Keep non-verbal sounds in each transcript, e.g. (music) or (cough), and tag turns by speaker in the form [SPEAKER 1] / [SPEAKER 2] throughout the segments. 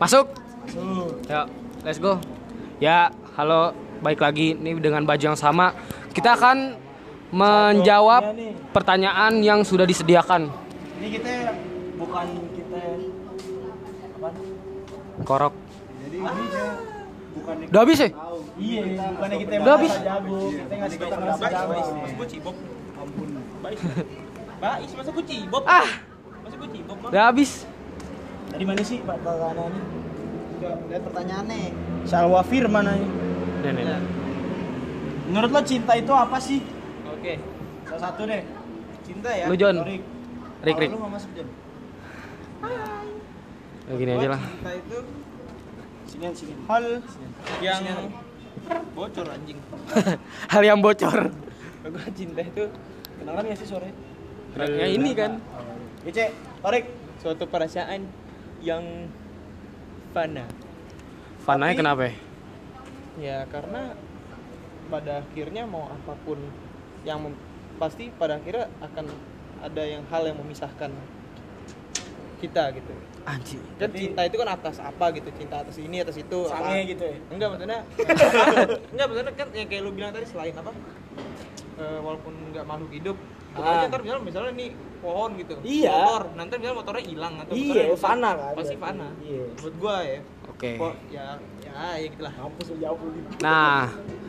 [SPEAKER 1] Masuk. Ya, let's go. Ya, halo, baik lagi nih dengan baju yang sama. Kita akan menjawab
[SPEAKER 2] nih.
[SPEAKER 1] pertanyaan yang sudah disediakan.
[SPEAKER 2] Ini kita bukan kita apa?
[SPEAKER 1] Korok.
[SPEAKER 2] Jadi ini ya bukan
[SPEAKER 1] Udah habis ya?
[SPEAKER 2] Iya, bukannya kita
[SPEAKER 1] Udah habis?
[SPEAKER 2] merasa jago, kita ngasih kita merasa jago.
[SPEAKER 3] Mas gue cibok. Bais. Bais masa gue cibok.
[SPEAKER 1] Ah,
[SPEAKER 3] Masa gue cibok mah.
[SPEAKER 1] udah habis.
[SPEAKER 2] Tadi mana sih Pak Kakana ini? Lihat pertanyaannya. Salwa Firman aja.
[SPEAKER 1] Nih, nih,
[SPEAKER 3] Iya.
[SPEAKER 1] nih.
[SPEAKER 2] Menurut lo cinta itu apa sih?
[SPEAKER 3] Oke.
[SPEAKER 2] Salah satu deh. Cinta ya.
[SPEAKER 1] Lu, Jon.
[SPEAKER 2] Rik.
[SPEAKER 1] Rik, Rik.
[SPEAKER 2] Kalau Lu mau masuk Jon.
[SPEAKER 1] Ya, Gini aja lah.
[SPEAKER 3] Cinta itu
[SPEAKER 2] Sinian sinian. Hal.
[SPEAKER 3] yang bocor anjing.
[SPEAKER 1] Hal yang bocor.
[SPEAKER 3] Gue cinta itu
[SPEAKER 2] Kedengeran nggak sih suaranya?
[SPEAKER 3] ya ini kan
[SPEAKER 2] Gece, Torik.
[SPEAKER 3] suatu perasaan yang fana.
[SPEAKER 1] Fananya kenapa ya?
[SPEAKER 3] Ya karena pada akhirnya mau apapun yang mem- pasti pada akhirnya akan ada yang hal yang memisahkan kita gitu.
[SPEAKER 1] Anjing.
[SPEAKER 3] Kan cinta itu kan atas apa gitu, cinta atas ini, atas itu.
[SPEAKER 2] Sange
[SPEAKER 3] apa-
[SPEAKER 2] gitu ya.
[SPEAKER 3] enggak maksudnya
[SPEAKER 2] (laughs)
[SPEAKER 3] enggak maksudnya kan yang kayak lu bilang tadi selain apa eh, walaupun nggak makhluk hidup
[SPEAKER 2] Ah.
[SPEAKER 3] pokoknya ntar misalnya misalnya nih pohon gitu
[SPEAKER 2] Iya.
[SPEAKER 3] motor nanti misalnya motornya hilang atau
[SPEAKER 2] Iya,
[SPEAKER 3] motornya rusak,
[SPEAKER 2] fana kan
[SPEAKER 3] pasti
[SPEAKER 2] berarti.
[SPEAKER 3] fana
[SPEAKER 2] Iya.
[SPEAKER 3] buat gua ya
[SPEAKER 1] Oke.
[SPEAKER 3] kok ya ya ya gitulah
[SPEAKER 2] Mampus lu jauh lu.
[SPEAKER 1] Nah,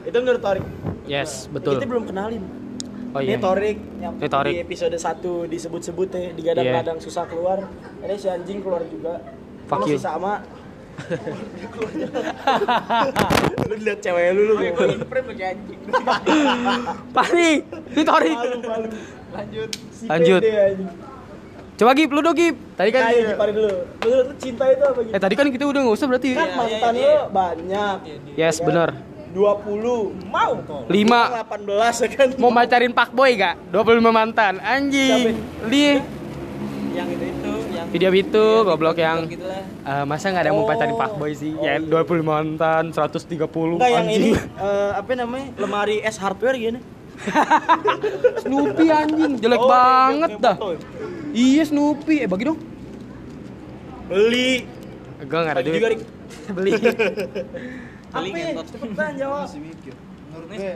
[SPEAKER 2] Itu menurut Torik.
[SPEAKER 1] yes,
[SPEAKER 2] Kita
[SPEAKER 1] betul.
[SPEAKER 2] belum kenalin.
[SPEAKER 1] Oh iya.
[SPEAKER 2] Ini Torik yang
[SPEAKER 1] Ini Torik.
[SPEAKER 2] di episode 1 disebut-sebut ya, digadang-gadang susah keluar. Ini si anjing keluar juga.
[SPEAKER 1] Iya. Fuck
[SPEAKER 2] Lu
[SPEAKER 1] you.
[SPEAKER 2] sih sama.
[SPEAKER 1] (laughs)
[SPEAKER 2] lu lihat cewek lu lu.
[SPEAKER 3] Oke, gua
[SPEAKER 2] (laughs)
[SPEAKER 3] in frame lagi anjing.
[SPEAKER 1] Pari, ini Torik.
[SPEAKER 2] Malu, malu.
[SPEAKER 3] Lanjut.
[SPEAKER 2] Si
[SPEAKER 1] Lanjut.
[SPEAKER 2] pede anjing.
[SPEAKER 1] Coba Gip, lu dong Gip. Tadi kan
[SPEAKER 2] Nah, iya, Gipari dulu. Menurut lu cinta itu apa gitu?
[SPEAKER 1] Eh tadi kan kita udah nggak usah berarti.
[SPEAKER 2] Kan
[SPEAKER 3] iya,
[SPEAKER 2] mantan
[SPEAKER 3] iya, iya.
[SPEAKER 2] lu banyak.
[SPEAKER 1] Yes, bener.
[SPEAKER 2] 20 mau toh.
[SPEAKER 1] Lima.
[SPEAKER 2] 18 ya kan.
[SPEAKER 1] Mau pacarin Pak Boy gak? 25 mantan. Anjing. Li.
[SPEAKER 3] yang itu itu yang
[SPEAKER 1] Video itu
[SPEAKER 3] Iya,
[SPEAKER 1] goblok
[SPEAKER 3] gitu,
[SPEAKER 1] yang
[SPEAKER 3] gitulah.
[SPEAKER 1] eh, masa nggak ada yang mau
[SPEAKER 2] Oh.
[SPEAKER 1] pacarin Pak Boy sih? Ya 25 mantan, 130
[SPEAKER 2] Enggak yang ini
[SPEAKER 1] anjing.
[SPEAKER 2] eh, apa namanya? Lemari es hardware gini.
[SPEAKER 1] (laughs) Snoopy anjing, jelek
[SPEAKER 2] Oh,
[SPEAKER 1] banget
[SPEAKER 2] kayak
[SPEAKER 1] dah.
[SPEAKER 2] botol.
[SPEAKER 1] Iya Snoopy, eh bagi dong.
[SPEAKER 2] Beli.
[SPEAKER 1] Gue nggak ada
[SPEAKER 2] Bagi
[SPEAKER 1] duit.
[SPEAKER 2] juga, Rik.
[SPEAKER 1] (laughs) Beli.
[SPEAKER 3] Beli
[SPEAKER 2] Apa? ya?
[SPEAKER 3] ngentot.
[SPEAKER 2] Cepetan jawab.
[SPEAKER 4] Menurut gue,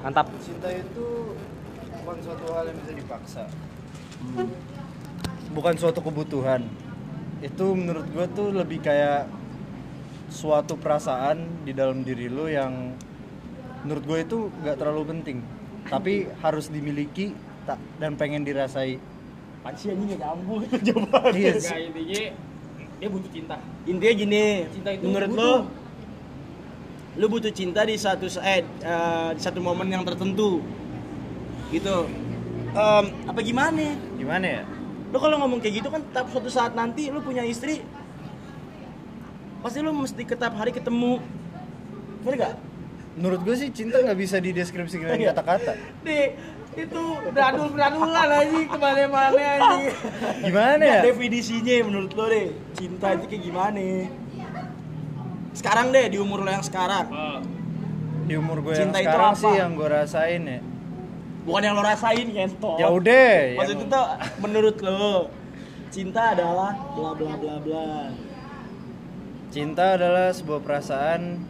[SPEAKER 1] Mantap.
[SPEAKER 4] cinta itu bukan suatu hal yang bisa dipaksa. Hmm. Bukan suatu kebutuhan. Itu menurut gue tuh lebih kayak suatu perasaan di dalam diri lo yang menurut gue itu nggak terlalu penting, tapi harus dimiliki ta- dan pengen dirasai.
[SPEAKER 2] Pansi anjing gak nyambung (laughs) jawaban.
[SPEAKER 4] Iya
[SPEAKER 3] Enggak, intinya dia butuh cinta
[SPEAKER 2] Intinya gini,
[SPEAKER 3] Cinta itu
[SPEAKER 2] menurut lo
[SPEAKER 3] butuh.
[SPEAKER 2] lu butuh cinta di satu saat eh, di satu momen yang tertentu. Gitu. Em, apa gimana?
[SPEAKER 4] Gimana ya?
[SPEAKER 2] Lu kalau ngomong kayak gitu kan tetap suatu saat nanti lu punya istri pasti lu mesti ke tiap hari ketemu. Bener gak?
[SPEAKER 4] Menurut gue sih cinta nggak bisa
[SPEAKER 2] Iya.
[SPEAKER 4] dideskripsikan dengan kata-kata.
[SPEAKER 1] Di itu beradul beradulan anjing kemana-mana anjing.
[SPEAKER 4] Gimana ya?
[SPEAKER 2] Nah, definisinya menurut lo deh, cinta itu kayak gimana? Sekarang deh di umur lo yang sekarang,
[SPEAKER 4] Di umur gue yang
[SPEAKER 2] Cinta itu
[SPEAKER 4] sekarang
[SPEAKER 2] apa?
[SPEAKER 4] sih yang gue rasain ya.
[SPEAKER 2] bukan yang lo rasain kento.
[SPEAKER 4] Ya udah.
[SPEAKER 2] Oh. Maksud
[SPEAKER 4] yang-
[SPEAKER 2] itu tuh menurut lo cinta adalah bla bla bla bla.
[SPEAKER 4] Cinta adalah sebuah perasaan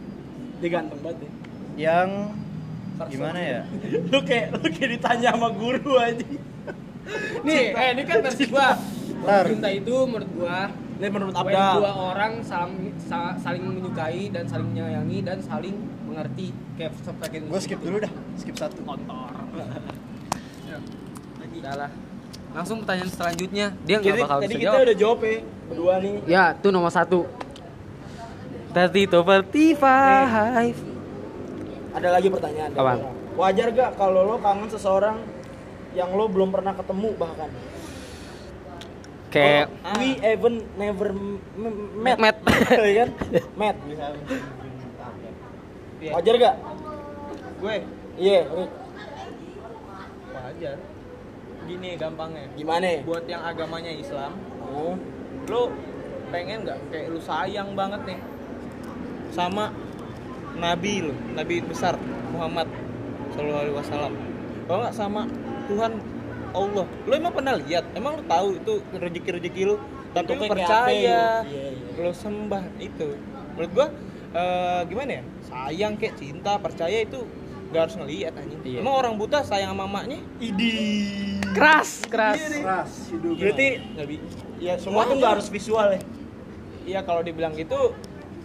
[SPEAKER 2] Dia ganteng banget ya.
[SPEAKER 4] yang gimana ya?
[SPEAKER 2] Lu kayak lu kayak ditanya sama guru aja.
[SPEAKER 1] (laughs) Nih, eh ini kan versi gua.
[SPEAKER 4] Ntar.
[SPEAKER 1] Cinta itu menurut gua
[SPEAKER 2] Ini menurut
[SPEAKER 1] When dua
[SPEAKER 2] Abdal.
[SPEAKER 1] orang sam- sa- saling menyukai dan saling menyayangi dan saling mengerti kayak gitu. seperti
[SPEAKER 4] Gue skip dulu dah, skip satu.
[SPEAKER 1] Salah. Langsung pertanyaan selanjutnya dia nggak
[SPEAKER 2] Jadi
[SPEAKER 1] bakal
[SPEAKER 2] tadi
[SPEAKER 1] bisa
[SPEAKER 2] kita
[SPEAKER 1] jawab.
[SPEAKER 2] udah jawab ya, berdua nih.
[SPEAKER 1] Ya, itu nomor satu. Tati Toverti Five.
[SPEAKER 2] Ada lagi pertanyaan. dari
[SPEAKER 1] Apaan?
[SPEAKER 2] orang. Wajar gak kalau lo kangen seseorang yang lo belum pernah ketemu bahkan?
[SPEAKER 1] Kayak
[SPEAKER 2] Oh, we even never m- m- met. (laughs)
[SPEAKER 1] Met.
[SPEAKER 2] Iya kan? Met. Wajar gak?
[SPEAKER 3] gue
[SPEAKER 2] Iya, ini
[SPEAKER 3] wajar gini gampangnya
[SPEAKER 2] gimana?
[SPEAKER 3] buat yang agamanya Islam
[SPEAKER 2] Oh.
[SPEAKER 3] lu pengen nggak kayak lu sayang banget nih sama nabi lu nabi besar Muhammad Shallallahu Alaihi Wasallam kalau nggak sama Tuhan Allah lu emang pernah lihat emang lu tahu itu rezeki rezeki lu tapi lu
[SPEAKER 2] Bentuknya kayak
[SPEAKER 3] percaya
[SPEAKER 2] apa? Iya, iya.
[SPEAKER 3] lu sembah itu menurut gua eh, gimana ya sayang kayak cinta percaya itu gak harus ngelihat anjing
[SPEAKER 1] Iya.
[SPEAKER 3] emang orang buta sayang sama maknya
[SPEAKER 2] Idi.
[SPEAKER 1] keras keras
[SPEAKER 4] keras hidupnya
[SPEAKER 2] Berarti
[SPEAKER 3] nggak bi
[SPEAKER 2] ya semua tuh nggak harus visual ya.
[SPEAKER 3] iya kalau dibilang gitu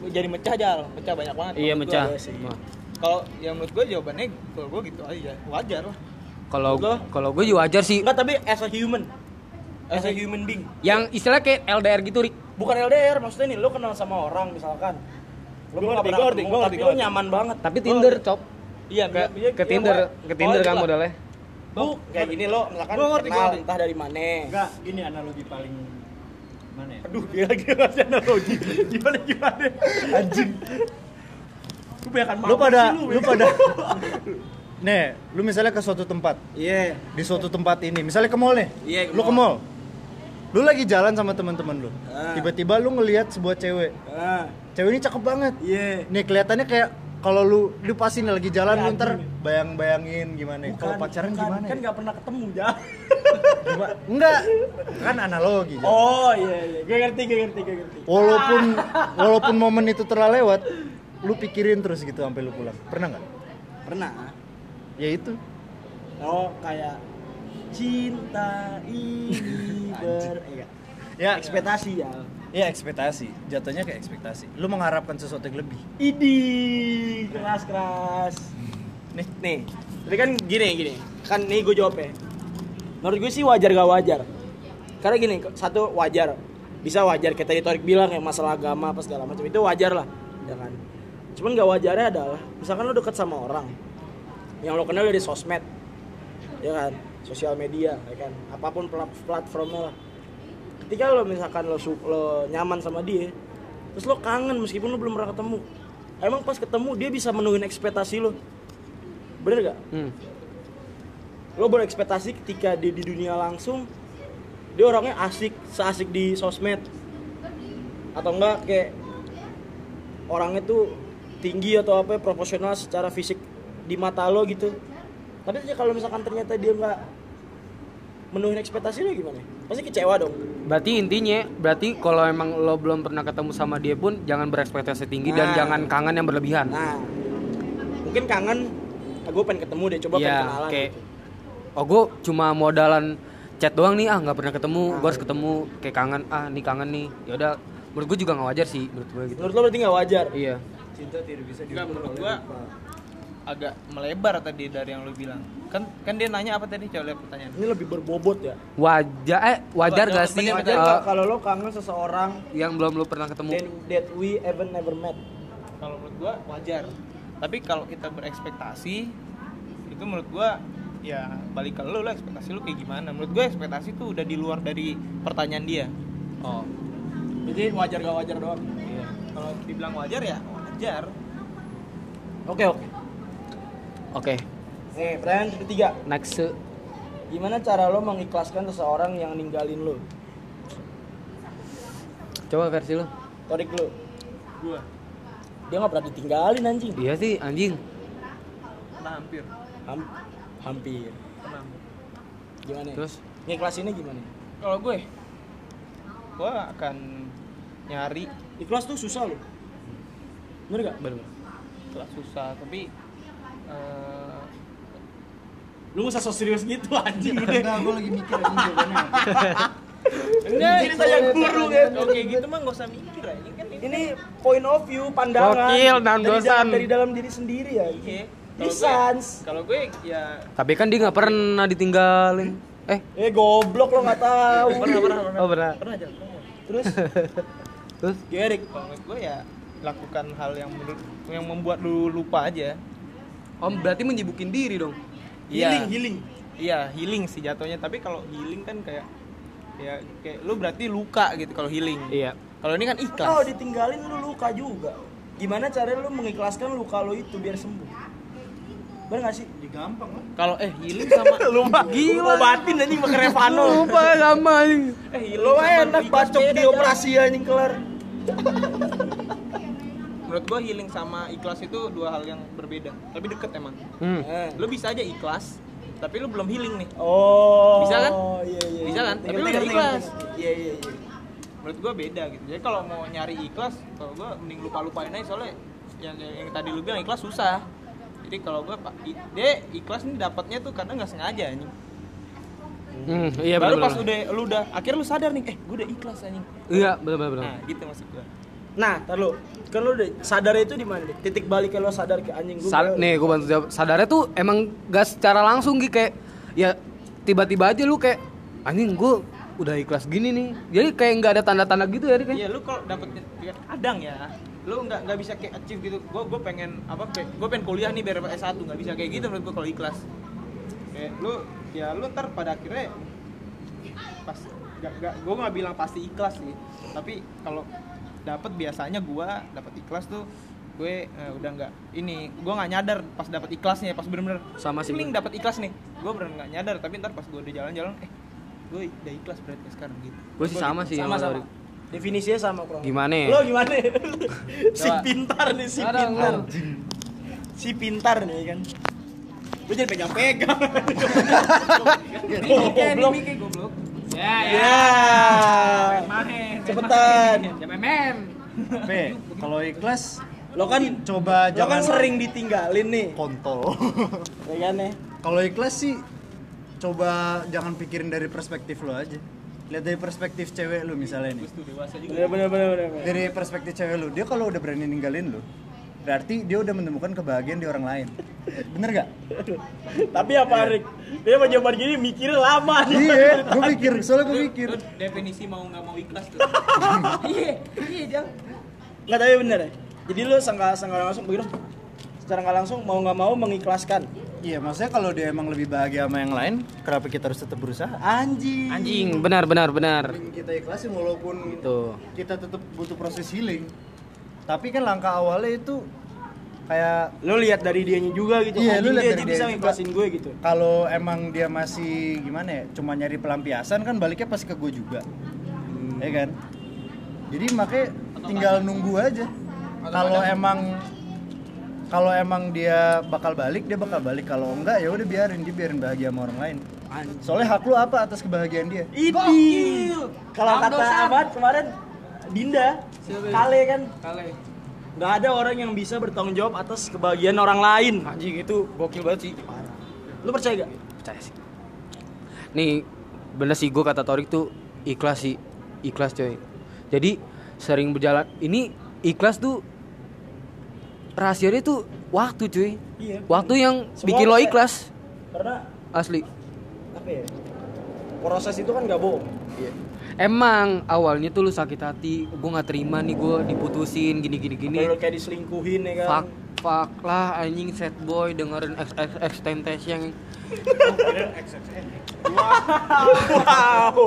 [SPEAKER 3] jadi mecah jal mecah banyak banget
[SPEAKER 1] iya
[SPEAKER 3] menurut
[SPEAKER 1] mecah
[SPEAKER 3] gua. kalau yang menurut gua jawabannya kalau gua gitu aja wajar lah
[SPEAKER 1] kalau
[SPEAKER 2] Gua-
[SPEAKER 1] kalau gue juga wajar sih
[SPEAKER 2] Enggak, tapi as a human. As a human being.
[SPEAKER 1] yang istilah kayak LDR gitu Rik
[SPEAKER 2] Bukan LDR, maksudnya nih lo kenal sama orang misalkan. Lo
[SPEAKER 3] Gua
[SPEAKER 2] nggak pernah
[SPEAKER 3] ngerti, gua ngerti,
[SPEAKER 2] ketemu,
[SPEAKER 3] gua
[SPEAKER 2] tapi
[SPEAKER 3] ngerti,
[SPEAKER 2] lo
[SPEAKER 3] gua ngerti.
[SPEAKER 2] nyaman banget.
[SPEAKER 1] tapi
[SPEAKER 2] Lo-
[SPEAKER 1] Tinder cop
[SPEAKER 3] iya
[SPEAKER 1] ke,
[SPEAKER 3] iya,
[SPEAKER 1] ke
[SPEAKER 3] iya,
[SPEAKER 1] Tinder
[SPEAKER 3] pokoknya-
[SPEAKER 1] ke Tinder kan
[SPEAKER 3] pokoknya gitu lah.
[SPEAKER 1] modalnya
[SPEAKER 2] Bu, kayak gini lo misalkan
[SPEAKER 3] Gua ngerti, gua
[SPEAKER 2] kenal
[SPEAKER 3] ngerti.
[SPEAKER 2] entah dari mana.
[SPEAKER 5] Enggak, ini analogi paling mana ya?
[SPEAKER 2] Aduh, gila gila ngasih analogi. Gimana gimana?
[SPEAKER 4] anjing
[SPEAKER 2] Gue bayangkan
[SPEAKER 4] lu pada lu
[SPEAKER 2] ya. (laughs)
[SPEAKER 4] pada nih lu misalnya ke suatu tempat
[SPEAKER 2] Iya.
[SPEAKER 4] di suatu tempat ini misalnya ke mall nih
[SPEAKER 2] Iya, ke
[SPEAKER 4] lu ke
[SPEAKER 2] mall.
[SPEAKER 4] mall lu lagi jalan sama teman-teman lu
[SPEAKER 2] Ah.
[SPEAKER 4] tiba-tiba lu ngelihat sebuah cewek
[SPEAKER 2] Ah,
[SPEAKER 4] cewek ini cakep banget
[SPEAKER 2] iya.
[SPEAKER 4] nih kelihatannya kayak kalau lu lu pasti nih lagi jalan
[SPEAKER 2] Ya,
[SPEAKER 4] lu ntar
[SPEAKER 2] anjing.
[SPEAKER 4] bayang-bayangin gimana ya. kalau pacaran gimana
[SPEAKER 2] Kan
[SPEAKER 4] ya?
[SPEAKER 2] nggak pernah ketemu ya.
[SPEAKER 4] Gima- enggak kan analogi Jan.
[SPEAKER 2] Oh iya iya, gue ngerti gue ngerti gue ngerti.
[SPEAKER 4] walaupun walaupun momen itu telah lewat lu pikirin terus gitu sampai lu pulang pernah nggak
[SPEAKER 2] Pernah.
[SPEAKER 4] ya itu
[SPEAKER 2] Oh kayak cinta ini ber iya.
[SPEAKER 4] ya
[SPEAKER 2] ekspektasi ya.
[SPEAKER 4] Ya ekspektasi, jatuhnya ke ekspektasi. Lu mengharapkan sesuatu yang lebih.
[SPEAKER 2] Idi keras keras.
[SPEAKER 4] Nih,
[SPEAKER 2] Nih, tapi kan gini gini, kan nih gue jawab ya. Menurut gue sih wajar gak wajar. Karena gini, satu wajar, bisa wajar kayak tadi Torik bilang ya masalah agama apa segala macam itu wajar lah, ya kan. Cuman gak wajarnya adalah, misalkan lo deket sama orang yang lo kenal dari sosmed, ya kan, sosial media, ya kan, apapun plat- platformnya lah. Ketika lo misalkan lo, su- lo nyaman sama dia, terus lo kangen meskipun lo belum pernah ketemu, emang pas ketemu dia bisa menuhin ekspektasi lo, bener gak?
[SPEAKER 1] hmm.
[SPEAKER 2] lo berekspektasi ketika dia di dunia langsung dia orangnya asik seasik di sosmed atau enggak kayak orangnya tuh tinggi atau apa ya, proporsional secara fisik di mata lo gitu tapi aja kalau misalkan ternyata dia nggak menuhin ekspektasi lo gimana pasti kecewa dong
[SPEAKER 1] berarti intinya berarti kalau emang lo belum pernah ketemu sama dia pun jangan berekspektasi tinggi
[SPEAKER 2] Nah.
[SPEAKER 1] dan jangan kangen yang berlebihan
[SPEAKER 2] nah mungkin kangen ah, gue pengen ketemu deh coba pengen
[SPEAKER 1] Iya,
[SPEAKER 2] kenalan
[SPEAKER 1] kayak
[SPEAKER 2] gitu.
[SPEAKER 1] oh gue cuma modalan chat doang nih ah nggak pernah ketemu gue harus ketemu kayak kangen ah nih kangen nih yaudah menurut gue juga nggak wajar sih menurut gue gitu
[SPEAKER 2] menurut lo berarti nggak wajar
[SPEAKER 1] iya
[SPEAKER 5] Cinta tidak bisa
[SPEAKER 3] Enggak,
[SPEAKER 5] diukur
[SPEAKER 3] menurut
[SPEAKER 5] oleh
[SPEAKER 3] gua-
[SPEAKER 5] rupa.
[SPEAKER 3] agak melebar tadi dari yang lu bilang kan kan dia nanya apa tadi coba lihat pertanyaan
[SPEAKER 2] ini lebih berbobot ya
[SPEAKER 1] wajar eh wajar
[SPEAKER 3] Wajar,
[SPEAKER 1] gak sih
[SPEAKER 3] wajar,
[SPEAKER 2] wajar
[SPEAKER 1] eh,
[SPEAKER 2] nggak Iya, kalau lo kangen seseorang
[SPEAKER 1] yang belum lo pernah ketemu
[SPEAKER 2] then that we ever never met
[SPEAKER 3] kalau menurut gua wajar tapi kalau kita berekspektasi itu menurut gua ya balik ke lu lah ekspektasi lu kayak gimana menurut gua ekspektasi tuh udah di luar dari pertanyaan dia
[SPEAKER 1] oh
[SPEAKER 2] Jadi wajar gak wajar doang.
[SPEAKER 3] kalau dibilang wajar ya wajar
[SPEAKER 2] Oke oke.
[SPEAKER 1] oke
[SPEAKER 2] Nih pertanyaan ketiga,
[SPEAKER 1] next
[SPEAKER 2] Eh, gimana cara lo mengikhlaskan seseorang yang ninggalin lo?
[SPEAKER 1] coba versi lo
[SPEAKER 2] Torik lo,
[SPEAKER 3] gua
[SPEAKER 2] dia nggak pernah ditinggalin anjing.
[SPEAKER 1] iya sih anjing
[SPEAKER 3] pernah hampir
[SPEAKER 2] Ham- hampir.
[SPEAKER 3] pernah hampir.
[SPEAKER 2] Gimana? Terus?
[SPEAKER 1] terus
[SPEAKER 2] Ngiklasinnya gimana?
[SPEAKER 3] kalau gue gue akan nyari
[SPEAKER 2] Ikhlas tuh susah lo. Bener gak?
[SPEAKER 1] bener
[SPEAKER 3] nggak susah tapi eh,
[SPEAKER 2] Lu gak usah so serius gitu anjing
[SPEAKER 5] Enggak, gua lagi mikir ini jawabannya.
[SPEAKER 3] enggak
[SPEAKER 2] Jadi saya burung ya.
[SPEAKER 3] oke gitu mah nggak usah mikir aja kan ini
[SPEAKER 2] Ini point of view, pandangan
[SPEAKER 1] Gokil, nan
[SPEAKER 2] dari,
[SPEAKER 1] dosan.
[SPEAKER 2] dalam, dari dalam diri sendiri ya.
[SPEAKER 3] iya
[SPEAKER 2] Ini
[SPEAKER 3] Kalau gue-
[SPEAKER 2] sans.
[SPEAKER 3] kalau gue ya
[SPEAKER 1] tapi kan dia nggak pernah ditinggalin eh
[SPEAKER 2] Eh goblok lo nggak tahu.
[SPEAKER 3] pernah pernah pernah
[SPEAKER 1] oh pernah
[SPEAKER 3] pernah aja pernah.
[SPEAKER 2] Terus,
[SPEAKER 1] terus
[SPEAKER 2] Gerik.
[SPEAKER 3] kalau menurut gue ya lakukan hal yang menurut yang membuat lu lupa aja
[SPEAKER 1] om berarti menjibukin diri dong
[SPEAKER 3] Iya.
[SPEAKER 2] Healing, healing.
[SPEAKER 3] iya healing sih jatuhnya tapi kalau healing kan kayak ya kayak lu berarti luka gitu kalau healing
[SPEAKER 1] iya
[SPEAKER 3] kalau ini kan ikhlas
[SPEAKER 2] Kalau ditinggalin lu luka juga. Gimana caranya lu mengikhlaskan luka lu itu biar sembuh? Bener gak sih?
[SPEAKER 3] Ya,
[SPEAKER 5] Jadi gampang lah.
[SPEAKER 3] kalau eh healing sama
[SPEAKER 2] (laughs) Lupa. Gila. Obatin anjing pakai Revano.
[SPEAKER 1] lupa sama anjing
[SPEAKER 3] eh healing
[SPEAKER 2] Lo
[SPEAKER 3] sama
[SPEAKER 2] enak
[SPEAKER 3] ikhlas
[SPEAKER 2] bacok
[SPEAKER 3] beda, kan?
[SPEAKER 2] di
[SPEAKER 3] Jal.
[SPEAKER 2] operasi anjing kelar.
[SPEAKER 3] menurut gue healing sama ikhlas itu dua hal yang berbeda tapi deket emang
[SPEAKER 1] hmm.
[SPEAKER 2] Eh.
[SPEAKER 3] lu bisa aja ikhlas tapi lu belum healing nih
[SPEAKER 2] Oh.
[SPEAKER 3] Bisa kan?
[SPEAKER 2] Iya, iya.
[SPEAKER 3] Bisa kan?
[SPEAKER 2] Tapi
[SPEAKER 3] Tapi lu udah ikhlas.
[SPEAKER 2] Iya, iya, iya.
[SPEAKER 3] menurut gue beda gitu jadi kalau mau nyari ikhlas kalau gue mending lupa lupain aja soalnya yang, yang tadi lu bilang ikhlas susah jadi kalau gue pak i- dia ikhlas nih dapatnya tuh kadang nggak sengaja anjing
[SPEAKER 1] Hmm, iya
[SPEAKER 3] baru
[SPEAKER 1] benar.
[SPEAKER 3] pas udah lu udah akhirnya lu sadar nih eh gue udah ikhlas anjing
[SPEAKER 1] Iya, benar benar. benar.
[SPEAKER 3] nah gitu maksud gue
[SPEAKER 2] Nah, tar lu. Kan lu udah sadar itu di mana? Dit? Titik balik lo sadar ke anjing gua.
[SPEAKER 1] Sa-
[SPEAKER 2] gagal.
[SPEAKER 1] nih gue bantu jawab. Sadarnya tuh emang gak secara langsung gitu kayak ya tiba-tiba aja lu kayak anjing gue udah ikhlas gini nih. Jadi kayak nggak ada tanda-tanda gitu ya Dik, ya?
[SPEAKER 3] Iya, lu kalau dapet kadang ya, lu nggak nggak bisa kayak achieve gitu. Gue gue pengen apa? Gue pengen kuliah nih biar dapat S1 nggak bisa kayak gitu menurut gue kalau ikhlas. Kayak lu ya lu ntar pada akhirnya pas gak, gak, gue nggak bilang pasti ikhlas sih tapi kalau dapat biasanya gue dapat ikhlas tuh gue eh, udah nggak ini gue nggak nyadar pas dapat ikhlasnya pas bener-bener
[SPEAKER 1] Sama sih,
[SPEAKER 3] link dapat ikhlas nih gue bener nggak nyadar tapi ntar pas gue udah jalan-jalan eh gue udah ikhlas berarti sekarang gitu
[SPEAKER 1] Gue sih sama sih sama
[SPEAKER 2] sama-sama.
[SPEAKER 1] Dik.
[SPEAKER 2] Definisinya sama, Bro.
[SPEAKER 1] Gimana? ya?
[SPEAKER 2] Lo
[SPEAKER 1] (laughs)
[SPEAKER 2] gimana? si pintar nih, si
[SPEAKER 1] Ada,
[SPEAKER 2] pintar.
[SPEAKER 1] lu.
[SPEAKER 2] Si pintar nih kan. Lu jangan pegang-pegang. Goblok.
[SPEAKER 3] goblok
[SPEAKER 1] Ya,
[SPEAKER 2] Ya. Cepetan.
[SPEAKER 4] P, kalau ikhlas
[SPEAKER 2] Lo kan
[SPEAKER 4] coba
[SPEAKER 2] lo kan
[SPEAKER 4] jangan
[SPEAKER 2] sering ditinggalin nih.
[SPEAKER 4] kontol. (laughs)
[SPEAKER 2] Ya kan nih.
[SPEAKER 4] kalau ikhlas sih coba jangan pikirin dari perspektif lo aja. Lihat dari perspektif cewek lu misalnya nih.
[SPEAKER 2] Bener bener bener bener. bener.
[SPEAKER 4] Dari perspektif cewek lu, dia kalau udah berani ninggalin lu, berarti dia udah menemukan kebahagiaan di orang lain. Bener gak?
[SPEAKER 2] Tapi apa Rick? Dia mau jawaban gini mikirnya lama nih.
[SPEAKER 4] Iya, gue mikir, soalnya gue mikir.
[SPEAKER 3] Lu definisi mau nggak mau ikhlas tuh
[SPEAKER 2] Nggak tapi bener ya. Jadi lu sangka sangka langsung begitu secara nggak langsung mau nggak mau mengikhlaskan.
[SPEAKER 4] Iya, maksudnya kalau dia emang lebih bahagia sama yang lain, kenapa kita harus tetap berusaha? Anjing.
[SPEAKER 1] Anjing, benar benar benar.
[SPEAKER 4] Kita ikhlasin walaupun
[SPEAKER 1] Tuh.
[SPEAKER 4] kita tetap butuh proses healing. Tapi kan langkah awalnya itu kayak
[SPEAKER 2] Lu lihat dari dianya juga gitu.
[SPEAKER 4] Iya,
[SPEAKER 2] Anjing,
[SPEAKER 4] lu lihat
[SPEAKER 2] dia
[SPEAKER 4] dari
[SPEAKER 2] aja
[SPEAKER 4] dia
[SPEAKER 2] bisa
[SPEAKER 4] juga.
[SPEAKER 2] ngiklasin gue gitu.
[SPEAKER 4] kalau emang dia masih gimana ya, cuma nyari pelampiasan kan baliknya pasti ke gue juga. Ya kan? Jadi makanya tinggal nunggu aja. Kalau emang kalau emang dia bakal balik, dia bakal balik. Kalau enggak ya udah biarin, dia biarin bahagia sama orang lain. Soalnya hak lu apa atas kebahagiaan dia?
[SPEAKER 2] Ini kalau kata Ahmad kemarin Dinda Kale kan
[SPEAKER 3] kali
[SPEAKER 2] nggak ada orang yang bisa bertanggung jawab atas kebahagiaan orang lain.
[SPEAKER 3] anjing itu gokil banget sih
[SPEAKER 2] Lu percaya gak?
[SPEAKER 1] Percaya sih. Nih, bener sih gue kata Torik tuh ikhlas sih. Ikhlas coy. Jadi sering berjalan ini ikhlas tuh rahasianya tuh waktu cuy.
[SPEAKER 2] Iya.
[SPEAKER 1] Waktu yang
[SPEAKER 2] Semua
[SPEAKER 1] bikin lo
[SPEAKER 2] kayak-
[SPEAKER 1] ikhlas
[SPEAKER 2] Karena
[SPEAKER 1] asli.
[SPEAKER 2] apa ya? Proses itu kan nggak bohong.
[SPEAKER 1] Emang awalnya tuh lu sakit hati, gue nggak terima nih gue diputusin gini gini gini.
[SPEAKER 2] Lu kayak diselingkuhin ya kan.
[SPEAKER 1] Fuck, fuck lah anjing sad boy dengerin XXX Temptation.
[SPEAKER 2] Wow.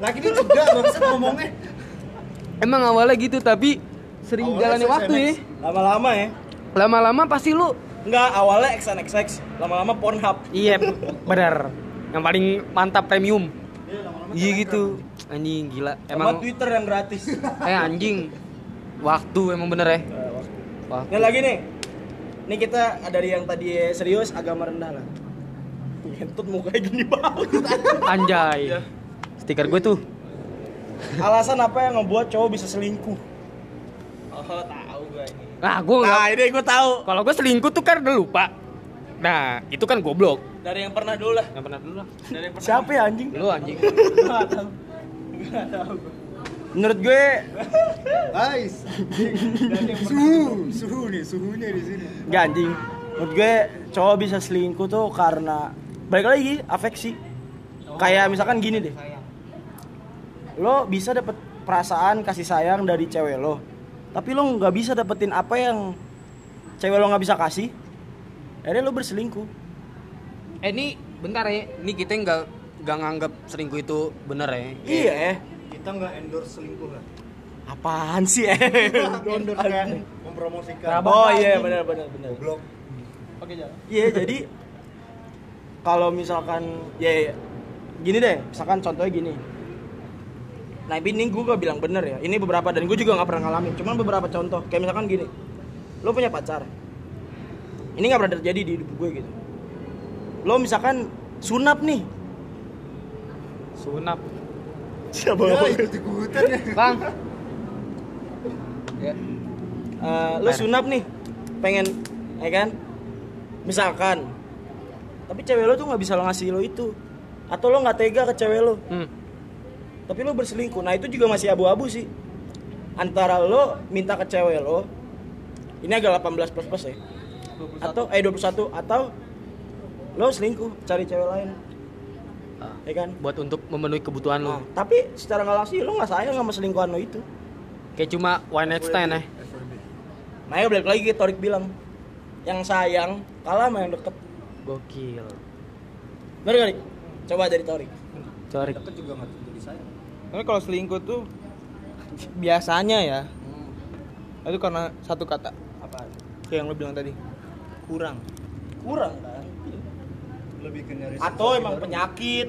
[SPEAKER 4] Lagi ini juga bangsat ngomongnya.
[SPEAKER 1] Emang awalnya gitu tapi sering
[SPEAKER 4] Awalnya
[SPEAKER 1] jalani waktu ya.
[SPEAKER 4] XXX.
[SPEAKER 2] Lama-lama ya.
[SPEAKER 1] Lama-lama pasti lu
[SPEAKER 2] Nggak awalnya XNXX, lama-lama Pornhub.
[SPEAKER 1] Iya, benar. Yang paling mantap premium. Iya gitu. Anjing gila.
[SPEAKER 2] Sama
[SPEAKER 1] Emang
[SPEAKER 2] Twitter yang gratis. (laughs)
[SPEAKER 1] eh anjing. Waktu emang bener ya. Waktu.
[SPEAKER 2] Yang lagi nih. Ini kita dari yang tadi serius agama rendah lah. Ngentut mukanya gini banget.
[SPEAKER 1] Anjay. Stiker gue tuh.
[SPEAKER 2] Alasan apa yang ngebuat cowok bisa selingkuh?
[SPEAKER 3] oh tahu gue ini
[SPEAKER 1] Nah, gue nggak-
[SPEAKER 2] ini gue tahu.
[SPEAKER 1] Kalau gue selingkuh tuh kan udah lupa. Nah, itu kan goblok.
[SPEAKER 3] dari yang pernah dulu lah
[SPEAKER 1] Yang pernah dulu lah.
[SPEAKER 3] dari yang pernah
[SPEAKER 2] Siapa ya anjing?
[SPEAKER 1] Lu anjing.
[SPEAKER 2] Menurut gue
[SPEAKER 4] Guys. suhu, suhu nih, suhunya di sini.
[SPEAKER 2] nggak anjing. Menurut gue cowok bisa selingkuh tuh karena balik lagi afeksi. Kayak misalkan gini deh. Lo bisa dapet perasaan kasih sayang dari cewek lo. Tapi lo nggak bisa dapetin apa yang cewek lo nggak bisa kasih. Akhirnya lo berselingkuh.
[SPEAKER 1] Eh, ini bentar ya. Ini kita nggak nggak nganggap selingkuh itu bener ya.
[SPEAKER 2] Iya. eh.
[SPEAKER 4] Kita nggak endorse selingkuh lah.
[SPEAKER 2] Apaan sih? Eh?
[SPEAKER 4] Kita endorse kayak mempromosikan.
[SPEAKER 2] oh iya benar benar benar.
[SPEAKER 4] Goblok.
[SPEAKER 3] oke jalan
[SPEAKER 2] Iya jadi kalau misalkan ya ya, gini deh, misalkan contohnya gini. Nah ini gue gak bilang bener ya, ini beberapa dan gue juga nggak pernah ngalamin. Cuman beberapa contoh, kayak misalkan gini, lo punya pacar, ini nggak pernah terjadi di hidup gue gitu. Lo misalkan sunap nih,
[SPEAKER 1] Sunap.
[SPEAKER 2] siapa
[SPEAKER 5] Ya,
[SPEAKER 2] ngomong?
[SPEAKER 5] ikut-ikutan ya.
[SPEAKER 1] Bang. Ya.
[SPEAKER 2] Eh,
[SPEAKER 1] Nah.
[SPEAKER 2] lu sunap nih pengen ya kan misalkan tapi cewek lo tuh nggak bisa lo ngasih lo itu atau lo nggak tega ke cewek lo
[SPEAKER 1] Hmm.
[SPEAKER 2] tapi lo berselingkuh nah itu juga masih abu-abu sih antara lo minta ke cewek lo ini agak 18 plus plus ya atau eh 21 atau lo selingkuh cari cewek lain
[SPEAKER 1] Ah.
[SPEAKER 2] ya kan
[SPEAKER 1] Buat untuk memenuhi kebutuhan
[SPEAKER 2] Nah,
[SPEAKER 1] lo.
[SPEAKER 2] tapi secara nggak langsung ya lo nggak sayang sama selingkuhan lo itu
[SPEAKER 1] Kayak cuma one night stand eh.
[SPEAKER 2] makanya balik lagi ke Torik bilang yang sayang kalah sama yang deket
[SPEAKER 1] Gokil.
[SPEAKER 2] Bener gak, Dik? Coba dari Torik.
[SPEAKER 1] Corik.
[SPEAKER 5] juga nggak tentu disayang.
[SPEAKER 3] Tapi kalau selingkuh tuh biasanya ya itu karena satu kata
[SPEAKER 2] Apaan?
[SPEAKER 3] kayak yang lo bilang tadi kurang.
[SPEAKER 2] Kurang kan?
[SPEAKER 5] Lebih ke nyari
[SPEAKER 2] Atau
[SPEAKER 5] sensasi
[SPEAKER 2] emang
[SPEAKER 5] baru.
[SPEAKER 2] penyakit.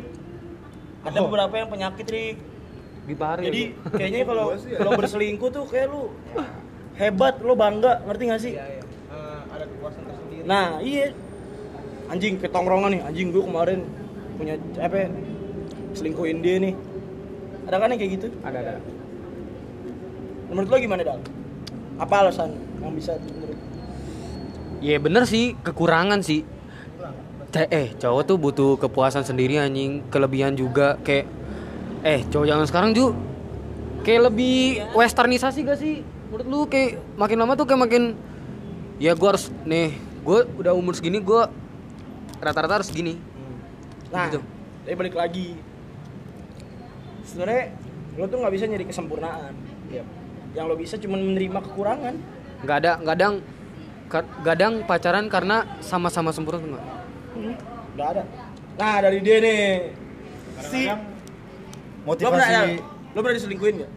[SPEAKER 2] Ada
[SPEAKER 3] Oh.
[SPEAKER 2] beberapa yang penyakit, Rik.
[SPEAKER 1] Bipari.
[SPEAKER 2] Jadi kayaknya kalau
[SPEAKER 5] Gua sih ya.
[SPEAKER 2] kalau berselingkuh tuh kayak lu hebat, lu bangga, ngerti gak sih?
[SPEAKER 3] Eh, ada kepuasan tersendiri.
[SPEAKER 2] Nah, iya. Anjing ketongkrongan nih, anjing gue kemarin punya apa ya, selingkuhin dia nih. Ada kan yang kayak gitu?
[SPEAKER 1] ada ada.
[SPEAKER 2] Menurut lo gimana, Dal? Apa alasan yang bisa menurut
[SPEAKER 1] Ya bener sih, kekurangan sih. Te- eh, cowok tuh butuh kepuasan sendiri anjing, kelebihan juga kayak eh cowok zaman sekarang Ju kayak lebih westernisasi gak sih? Menurut lu kayak makin lama tuh kayak makin ya gua harus nih, gua udah umur segini gua rata-rata harus gini.
[SPEAKER 2] Nah,
[SPEAKER 1] Gitu.
[SPEAKER 2] tapi balik lagi. Sebenarnya lo tuh nggak bisa nyari kesempurnaan. Yang lo bisa cuma menerima kekurangan.
[SPEAKER 1] Nggak ada gadang gadang pacaran karena sama-sama sempurna tuh nggak?
[SPEAKER 2] Nggak ada. Nah, dari dia nih. Si ya? lo pernah
[SPEAKER 4] motivasi
[SPEAKER 2] lo pernah diselingkuhin nggak?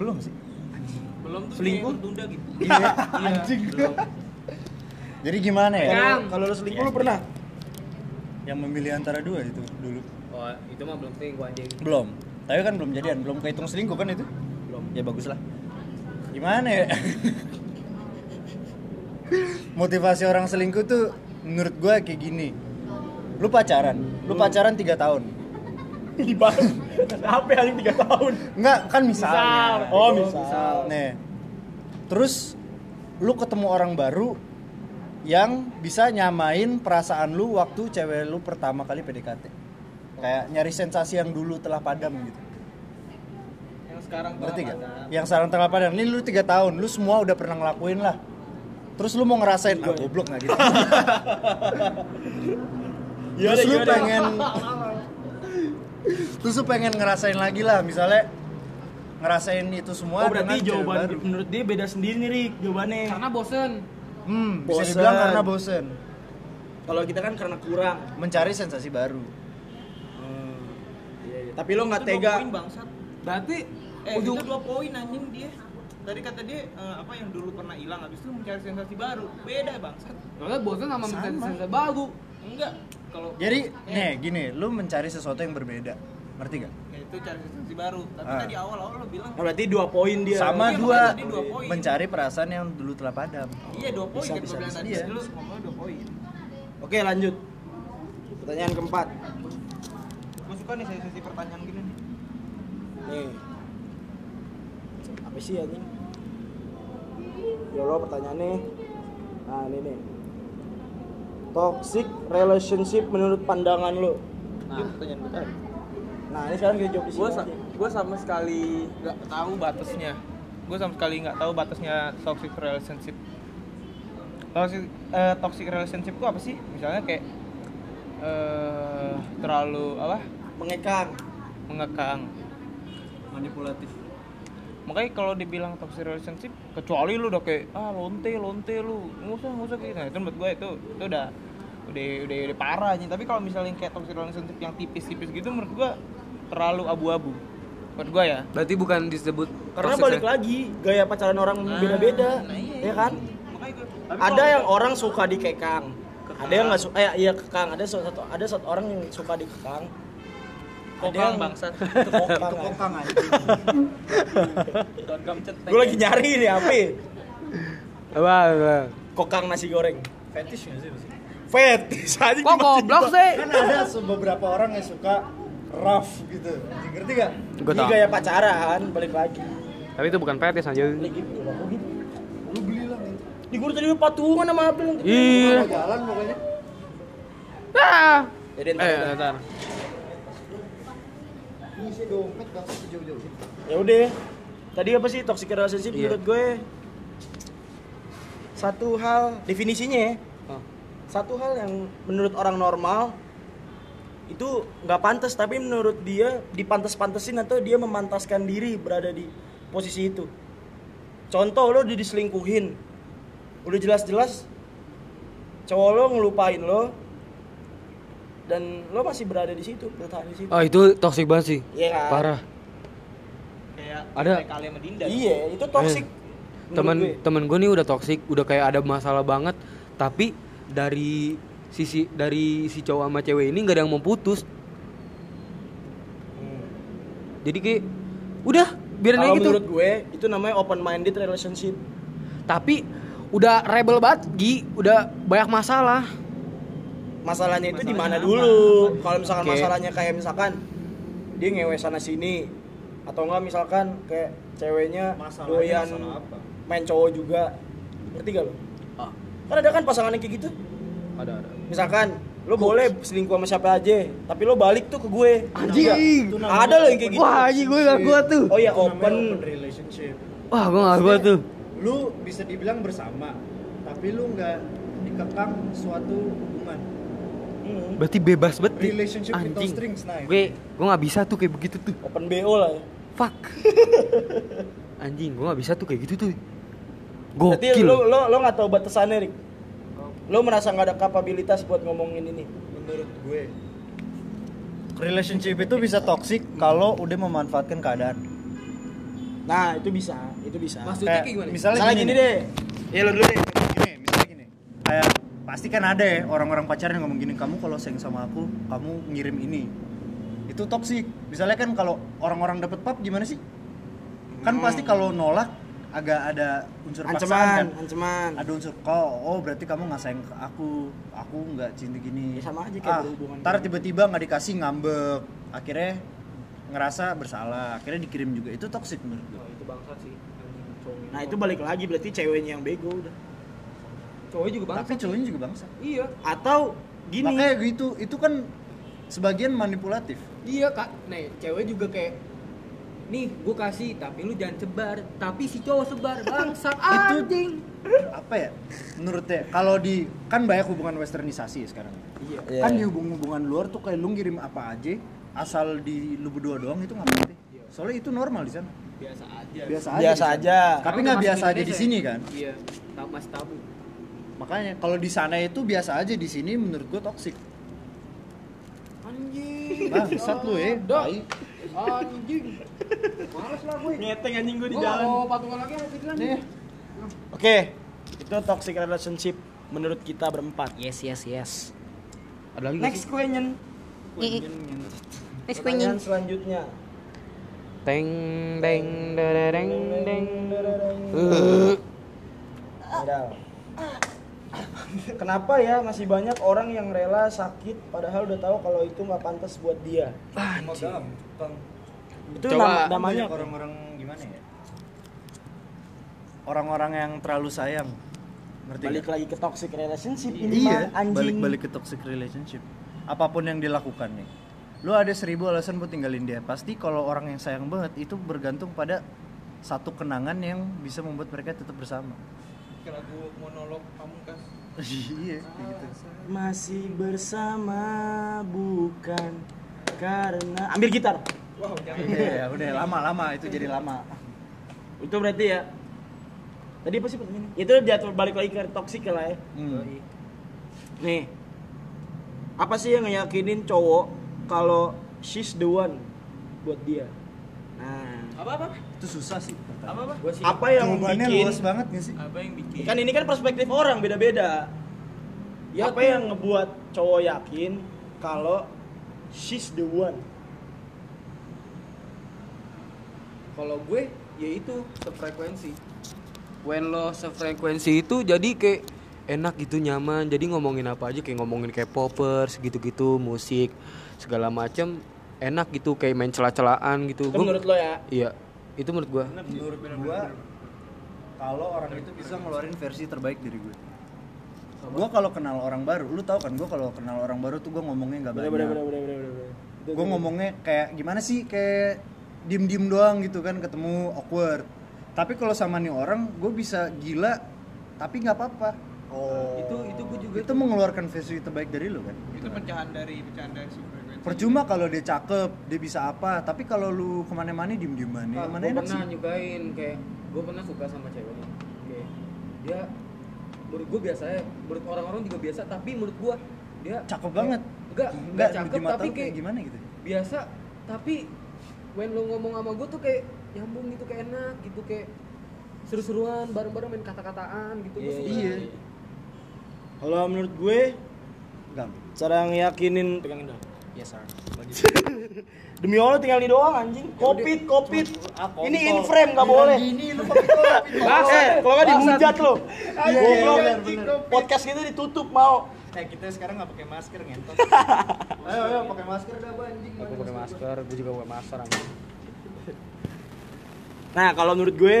[SPEAKER 4] belum sih
[SPEAKER 3] Belum tuh
[SPEAKER 2] Selingkuh?
[SPEAKER 3] kayak tunda gitu.
[SPEAKER 4] iya jadi gimana ya
[SPEAKER 2] Kalau kalau lo selingkuh lo (laughs) pernah.
[SPEAKER 4] yang memilih antara dua itu dulu
[SPEAKER 1] Oh, itu mah belum selingkuh anjing.
[SPEAKER 4] belum tapi kan belum jadian belum kehitung selingkuh kan itu belum ya bagus lah gimana ya (laughs) motivasi orang selingkuh tuh menurut gua kayak gini lu pacaran lu pacaran tiga tahun
[SPEAKER 2] Di bang. Apa yang tiga tahun?
[SPEAKER 4] enggak kan misalnya
[SPEAKER 2] Oh, misal.
[SPEAKER 4] Nih. Terus lu ketemu orang baru yang bisa nyamain perasaan lu waktu cewek lu pertama kali PDKT. Kayak nyari sensasi yang dulu telah padam gitu.
[SPEAKER 3] Yang sekarang
[SPEAKER 4] Ngerti gak?
[SPEAKER 3] kenapa?
[SPEAKER 4] Yang sekarang telah padam. Ini lu 3 tahun, lu semua udah pernah ngelakuin lah. Terus lu mau ngerasain, ah goblok gak
[SPEAKER 2] (laughs)
[SPEAKER 4] gitu.
[SPEAKER 2] Iya,
[SPEAKER 4] Terus lu pengen Terus lu pengen ngerasain lagi lah, misalnya ngerasain itu semua
[SPEAKER 2] Oh, berarti
[SPEAKER 4] dengan cewek
[SPEAKER 2] jawaban
[SPEAKER 4] baru.
[SPEAKER 2] menurut dia beda sendiri nih, Rik, jawabannya.
[SPEAKER 1] Karena bosen.
[SPEAKER 4] Hmm, bisa
[SPEAKER 2] Bosen.
[SPEAKER 4] dibilang karena bosen.
[SPEAKER 2] Kalau kita kan karena kurang.
[SPEAKER 4] Mencari sensasi baru.
[SPEAKER 2] Iya, Tapi lo nggak
[SPEAKER 3] Itu dua
[SPEAKER 2] tega.
[SPEAKER 3] poin, bangsat.
[SPEAKER 1] Berarti
[SPEAKER 3] Eh,
[SPEAKER 1] ujung
[SPEAKER 3] itu dua poin anjing dia. Tadi kata dia eh, apa yang dulu pernah hilang habis itu mencari sensasi baru. Beda bangsat.
[SPEAKER 1] Soalnya bosan sama mencari sense baru.
[SPEAKER 3] Enggak. Kalau
[SPEAKER 4] Jadi, nih gini, lu mencari sesuatu yang berbeda. Ngerti gak?
[SPEAKER 3] ya, itu cari sensasi baru. Tapi
[SPEAKER 4] Ah.
[SPEAKER 3] tadi awal-awal lo bilang
[SPEAKER 2] Nah, berarti dua poin dia.
[SPEAKER 4] Sama
[SPEAKER 3] Iya,
[SPEAKER 4] dua,
[SPEAKER 3] makanya tadi dua
[SPEAKER 2] Oh,
[SPEAKER 3] poin.
[SPEAKER 4] mencari perasaan yang dulu telah padam.
[SPEAKER 3] iya dua poin
[SPEAKER 4] Bisa,
[SPEAKER 3] kan
[SPEAKER 4] bisa,
[SPEAKER 3] gue bilang
[SPEAKER 4] bisa,
[SPEAKER 3] tadi.
[SPEAKER 4] iya.
[SPEAKER 3] Lu ngomong dua poin.
[SPEAKER 2] Oke lanjut Pertanyaan keempat
[SPEAKER 3] Gue suka nih sesi pertanyaan gini nih.
[SPEAKER 2] Nih Apa sih anjing? Ya Allah pertanyaannya Nah ini nih Toxic relationship menurut pandangan lo
[SPEAKER 3] Itu pertanyaan gue tadi.
[SPEAKER 2] Nah ini sekarang kita jawab di sini
[SPEAKER 3] gue sa-
[SPEAKER 2] aja.
[SPEAKER 3] gue sama sekali nggak tahu batasnya gue sama sekali nggak tahu batasnya toxic relationship toxic eh, toxic relationship itu apa sih misalnya kayak eh terlalu apa
[SPEAKER 2] Mengekang
[SPEAKER 3] mengekang
[SPEAKER 5] manipulatif.
[SPEAKER 3] makanya kalau dibilang toxic relationship kecuali lu udah kayak ah lonte lonte lu nggak usah nggak usah kayak gitu. nah itu menurut gue itu itu udah udah udah, udah parah aja tapi kalau misalnya kayak toxic relationship yang tipis-tipis gitu menurut gue terlalu abu-abu menurut gue ya
[SPEAKER 1] Berarti bukan disebut
[SPEAKER 2] Karena
[SPEAKER 1] toxic
[SPEAKER 2] balik
[SPEAKER 1] ya?
[SPEAKER 2] lagi Gaya pacaran orang beda-beda
[SPEAKER 3] nah iya,
[SPEAKER 2] Ya kan?
[SPEAKER 3] makanya gue
[SPEAKER 2] Ada yang orang suka dikekang ada yang nggak suka eh iya kekang ada satu ada satu orang yang suka dikekang
[SPEAKER 3] kokang bangsat
[SPEAKER 2] kekang
[SPEAKER 5] Kokang aja.
[SPEAKER 3] Don Kamcet.
[SPEAKER 2] gue lagi nyari ini apa
[SPEAKER 1] Apa, apa?
[SPEAKER 2] kokang nasi goreng
[SPEAKER 5] Fetish nggak sih? maksudnya?
[SPEAKER 2] Fet, (laughs) anjing
[SPEAKER 1] Kok goblok sih?
[SPEAKER 4] Kan ada se- beberapa orang yang suka rough gitu Anjing, ngerti gak?
[SPEAKER 1] Gue
[SPEAKER 2] Ini
[SPEAKER 1] tau.
[SPEAKER 2] gaya pacaran, balik lagi.
[SPEAKER 1] Tapi itu bukan petis aja.
[SPEAKER 2] Balik gitu, udah aku gitu.
[SPEAKER 4] lu belilah men
[SPEAKER 2] Di guru tadi patungan sama April.
[SPEAKER 1] Iya.
[SPEAKER 4] Mau jalan pokoknya
[SPEAKER 1] Ah.
[SPEAKER 2] Jadi ntar.
[SPEAKER 1] Eh,
[SPEAKER 2] udah.
[SPEAKER 1] ntar.
[SPEAKER 4] ngisi dompet gak usah jauh-jauh
[SPEAKER 2] Ya udah. Tadi apa sih toxic relationship
[SPEAKER 1] Iya.
[SPEAKER 2] menurut gue? Satu hal definisinya ya.
[SPEAKER 1] Oh.
[SPEAKER 2] Satu hal yang menurut orang normal itu nggak pantas tapi menurut dia dipantas-pantesin atau dia memantaskan diri berada di posisi itu. Contoh lo udah diselingkuhin. Udah jelas-jelas cowok lo ngelupain lo dan lo masih berada di situ, bertahan di situ.
[SPEAKER 1] Ah, itu toxic banget sih.
[SPEAKER 2] Iya kan?
[SPEAKER 1] Parah.
[SPEAKER 2] (laughs)
[SPEAKER 3] kayak
[SPEAKER 1] Ada.
[SPEAKER 3] kayak kalian sama Dinda
[SPEAKER 2] Iya, itu toxic. menurut gue.
[SPEAKER 1] Eh, temen temen gue nih udah toxic udah kayak ada masalah banget tapi dari sisi dari si cowok sama cewek ini nggak ada yang mau putus jadi kayak udah biarin aja
[SPEAKER 2] Kalau
[SPEAKER 1] gitu
[SPEAKER 2] menurut gue itu namanya open minded relationship.
[SPEAKER 1] tapi udah rebel banget Gi udah banyak masalah
[SPEAKER 2] Masalahnya itu di mana
[SPEAKER 3] Masalahnya
[SPEAKER 2] dulu? Kalau misalkan
[SPEAKER 1] Oke.
[SPEAKER 2] masalahnya kayak misalkan dia ngewe sana sini atau enggak misalkan kayak ceweknya doyan
[SPEAKER 5] apa?
[SPEAKER 2] main cowok juga. Ngerti gak lo?
[SPEAKER 1] Ah.
[SPEAKER 2] Kan ada kan pasangannya kayak gitu.
[SPEAKER 1] ada ada
[SPEAKER 2] Misalkan lo boleh selingkuh sama siapa aja, tapi lo balik tuh ke gue.
[SPEAKER 1] Anjing.
[SPEAKER 2] Ngerti nggak? Ada lo yang kayak gitu.
[SPEAKER 1] wah aji gue gak kuat tuh
[SPEAKER 2] Oh iya
[SPEAKER 5] Itu namanya
[SPEAKER 2] open.
[SPEAKER 5] relationship
[SPEAKER 1] wah gue gak kuat tuh
[SPEAKER 5] lu bisa dibilang bersama tapi lu nggak dikekang suatu hubungan
[SPEAKER 2] Hmm,
[SPEAKER 1] berarti bebas banget Gi.
[SPEAKER 5] Relationship without
[SPEAKER 1] anjing
[SPEAKER 5] strings, nah.
[SPEAKER 1] gue gue nggak bisa tuh kayak begitu tuh
[SPEAKER 2] Open BO lah ya.
[SPEAKER 4] (laughs)
[SPEAKER 1] fuck anjing gue nggak bisa tuh kayak gitu tuh
[SPEAKER 2] Berarti lo
[SPEAKER 1] gokil
[SPEAKER 2] lo lo nggak tahu batasannya, Rik. Lo merasa nggak ada kapabilitas buat ngomongin ini.
[SPEAKER 5] menurut gue
[SPEAKER 4] relationship itu bisa toxic kalau udah memanfaatkan keadaan
[SPEAKER 2] Nah, itu bisa, itu bisa.
[SPEAKER 1] Maksudnya kayak gimana?
[SPEAKER 4] misalnya,
[SPEAKER 2] Misalnya
[SPEAKER 4] gini,
[SPEAKER 2] gini deh.
[SPEAKER 3] Iya,
[SPEAKER 4] ya lo dulu deh gini misalnya gini kayak pasti kan ada ya orang-orang pacaran yang ngomong gini kamu kalau sayang sama aku kamu ngirim ini itu toxic misalnya kan kalau orang-orang dapet pap gimana sih kan pasti kalau nolak agak ada unsur paksaan kan
[SPEAKER 2] Hmm. Ancaman, ancaman.
[SPEAKER 4] ada unsur kau oh berarti kamu nggak sayang ke aku aku nggak cinta gini
[SPEAKER 2] Ya, sama aja kayak
[SPEAKER 4] ah,
[SPEAKER 2] berhubungan. gitu.
[SPEAKER 4] ntar tiba-tiba nggak dikasih ngambek akhirnya ngerasa bersalah akhirnya dikirim juga itu toxic menurut gue
[SPEAKER 3] itu bangsa sih
[SPEAKER 2] Nah, itu balik lagi berarti ceweknya yang bego udah.
[SPEAKER 3] cowoknya juga
[SPEAKER 4] tapi cowoknya juga bangsa
[SPEAKER 3] iya
[SPEAKER 2] Atau gini.
[SPEAKER 4] makanya gitu itu kan sebagian manipulatif
[SPEAKER 3] iya kak nih cewek juga kayak nih gue kasih tapi lu jangan sebar tapi si cowok sebar bangsat
[SPEAKER 4] anjing. apa ya menurutnya kalau di kan banyak hubungan westernisasi ya sekarang
[SPEAKER 2] Iya.
[SPEAKER 4] kan di hubungan-hubungan luar tuh kayak lu ngirim apa aja asal di lu berdua doang itu nggak penting soalnya itu normal di sana
[SPEAKER 3] biasa aja
[SPEAKER 4] biasa aja
[SPEAKER 2] Biasa
[SPEAKER 4] di sana.
[SPEAKER 2] aja.
[SPEAKER 4] tapi nggak biasa aja
[SPEAKER 1] ya?
[SPEAKER 4] di sini kan
[SPEAKER 3] iya tak mas tabu
[SPEAKER 4] makanya kalau di sana itu biasa aja di sini menurut gua toksik
[SPEAKER 3] anjing
[SPEAKER 4] bangsat lu
[SPEAKER 1] eh.
[SPEAKER 4] ya tai.
[SPEAKER 3] anjing males lah gue
[SPEAKER 2] Ngeteng anjing gue di
[SPEAKER 3] Gua nggak mau patungan lagi sama Fitran.
[SPEAKER 2] Oke, itu toxic relationship menurut kita berempat.
[SPEAKER 1] yes yes yes ada lagi nggak
[SPEAKER 2] Next
[SPEAKER 1] sih?
[SPEAKER 2] question. Pertanyaan selanjutnya.
[SPEAKER 1] Teng teng dereng deng.
[SPEAKER 2] Padahal. Kenapa ya masih banyak orang yang rela sakit padahal udah tahu kalau itu nggak pantas buat dia?
[SPEAKER 5] Cuma gampang
[SPEAKER 2] Itu
[SPEAKER 1] Coba.
[SPEAKER 2] nama- namanya
[SPEAKER 4] banyak
[SPEAKER 2] apa?
[SPEAKER 4] orang-orang gimana ya orang-orang yang terlalu sayang ngerti
[SPEAKER 2] balik
[SPEAKER 4] nggak?
[SPEAKER 2] lagi ke toxic relationship ini
[SPEAKER 4] iya
[SPEAKER 2] mah anjing
[SPEAKER 4] balik-balik ke toxic relationship apapun yang dilakukan nih lu ada seribu alasan buat tinggalin dia pasti kalau orang yang sayang banget itu bergantung pada satu kenangan yang bisa membuat mereka tetap bersama (laughs)
[SPEAKER 3] lagu monolog pamungkas
[SPEAKER 4] iya kayak gitu
[SPEAKER 2] masih bersama bukan karena ambil gitar
[SPEAKER 3] wow jangan
[SPEAKER 4] Iya, udah lama-lama itu jadi lama.
[SPEAKER 2] itu berarti ya tadi apa sih pertanyaannya itu jatuh balik lagi ke toxic lah ya
[SPEAKER 4] Hmm.
[SPEAKER 2] nih apa sih yang ngeyakinin cowok kalau she's the one buat dia nah
[SPEAKER 3] apa apa
[SPEAKER 4] Itu susah sih.
[SPEAKER 3] apa apa
[SPEAKER 2] buat si- apa yang
[SPEAKER 4] Jawabannya
[SPEAKER 2] bikin
[SPEAKER 4] luas banget gak sih?
[SPEAKER 3] apa yang bikin
[SPEAKER 2] kan ini kan perspektif orang beda-beda
[SPEAKER 3] Ya,
[SPEAKER 2] apa
[SPEAKER 3] tuh.
[SPEAKER 2] yang ngebuat cowok yakin kalau she's the one
[SPEAKER 3] kalau gue ya itu sefrekuensi
[SPEAKER 1] When lo sefrekuensi itu jadi kayak enak gitu nyaman. Jadi ngomongin apa aja kayak ngomongin K-popers gitu-gitu, musik segala macem enak gitu kayak main celah-celahan
[SPEAKER 2] Itu
[SPEAKER 1] gitu. Gua-
[SPEAKER 2] menurut lo ya?
[SPEAKER 1] Iya, itu menurut gua.
[SPEAKER 4] menurut gua kalau orang itu bisa ngeluarin versi terbaik dari gue gue kalau kenal orang baru lu tau kan gue kalau kenal orang baru tuh gue ngomongnya nggak
[SPEAKER 2] Bener bener bener
[SPEAKER 4] banyak
[SPEAKER 2] bener bener. bener. Itu-
[SPEAKER 4] gue ngomongnya kayak gimana sih kayak diem diem doang gitu kan ketemu awkward tapi kalau sama nih orang gue bisa gila tapi nggak apa-apa
[SPEAKER 2] Oh.
[SPEAKER 4] itu itu gue juga itu mengeluarkan versi terbaik dari lu kan
[SPEAKER 3] itu pecahan dari pecahan dari si Eh, frekuensi
[SPEAKER 4] percuma kalau dia cakep dia bisa apa tapi kalau lu kemana-mana diem dieman
[SPEAKER 2] Ah,
[SPEAKER 4] ya mana enak sih
[SPEAKER 1] nyobain kayak gue pernah suka sama ceweknya. Kayak dia menurut gue biasa ya, menurut orang-orang juga biasa, tapi menurut gue dia
[SPEAKER 4] cakep banget
[SPEAKER 1] Enggak, enggak
[SPEAKER 4] di
[SPEAKER 1] cakep tapi
[SPEAKER 4] mata lu kayak
[SPEAKER 1] kayak
[SPEAKER 4] gimana gitu
[SPEAKER 1] biasa, tapi when lo ngomong sama gue tuh kayak nyambung gitu kayak enak gitu kayak seru-seruan bareng-bareng main kata-kataan gitu Gua
[SPEAKER 2] Iya,
[SPEAKER 1] suka.
[SPEAKER 2] iya. Kalau menurut gue
[SPEAKER 4] gampang
[SPEAKER 2] cara ngeyakinin pegangin dong.
[SPEAKER 4] yes sir
[SPEAKER 2] (laughs) Demi Allah tinggal di doang anjing. Kopit, kopit.
[SPEAKER 4] ah,
[SPEAKER 2] Ah, Ini in frame gak boleh.
[SPEAKER 5] Ini lu kopi-kopi.
[SPEAKER 2] Eh, kalau nggak dihujat lo.
[SPEAKER 5] Iya,
[SPEAKER 2] Goblok.
[SPEAKER 5] iya, bener,
[SPEAKER 2] Podcast gitu ditutup mau.
[SPEAKER 5] Eh kita sekarang nggak pakai masker ngentot. (laughs) ayo ayo pakai masker dah Bu, anjing.
[SPEAKER 1] Aku pakai masker, gue juga pakai masker anjing.
[SPEAKER 2] Nah, kalau menurut gue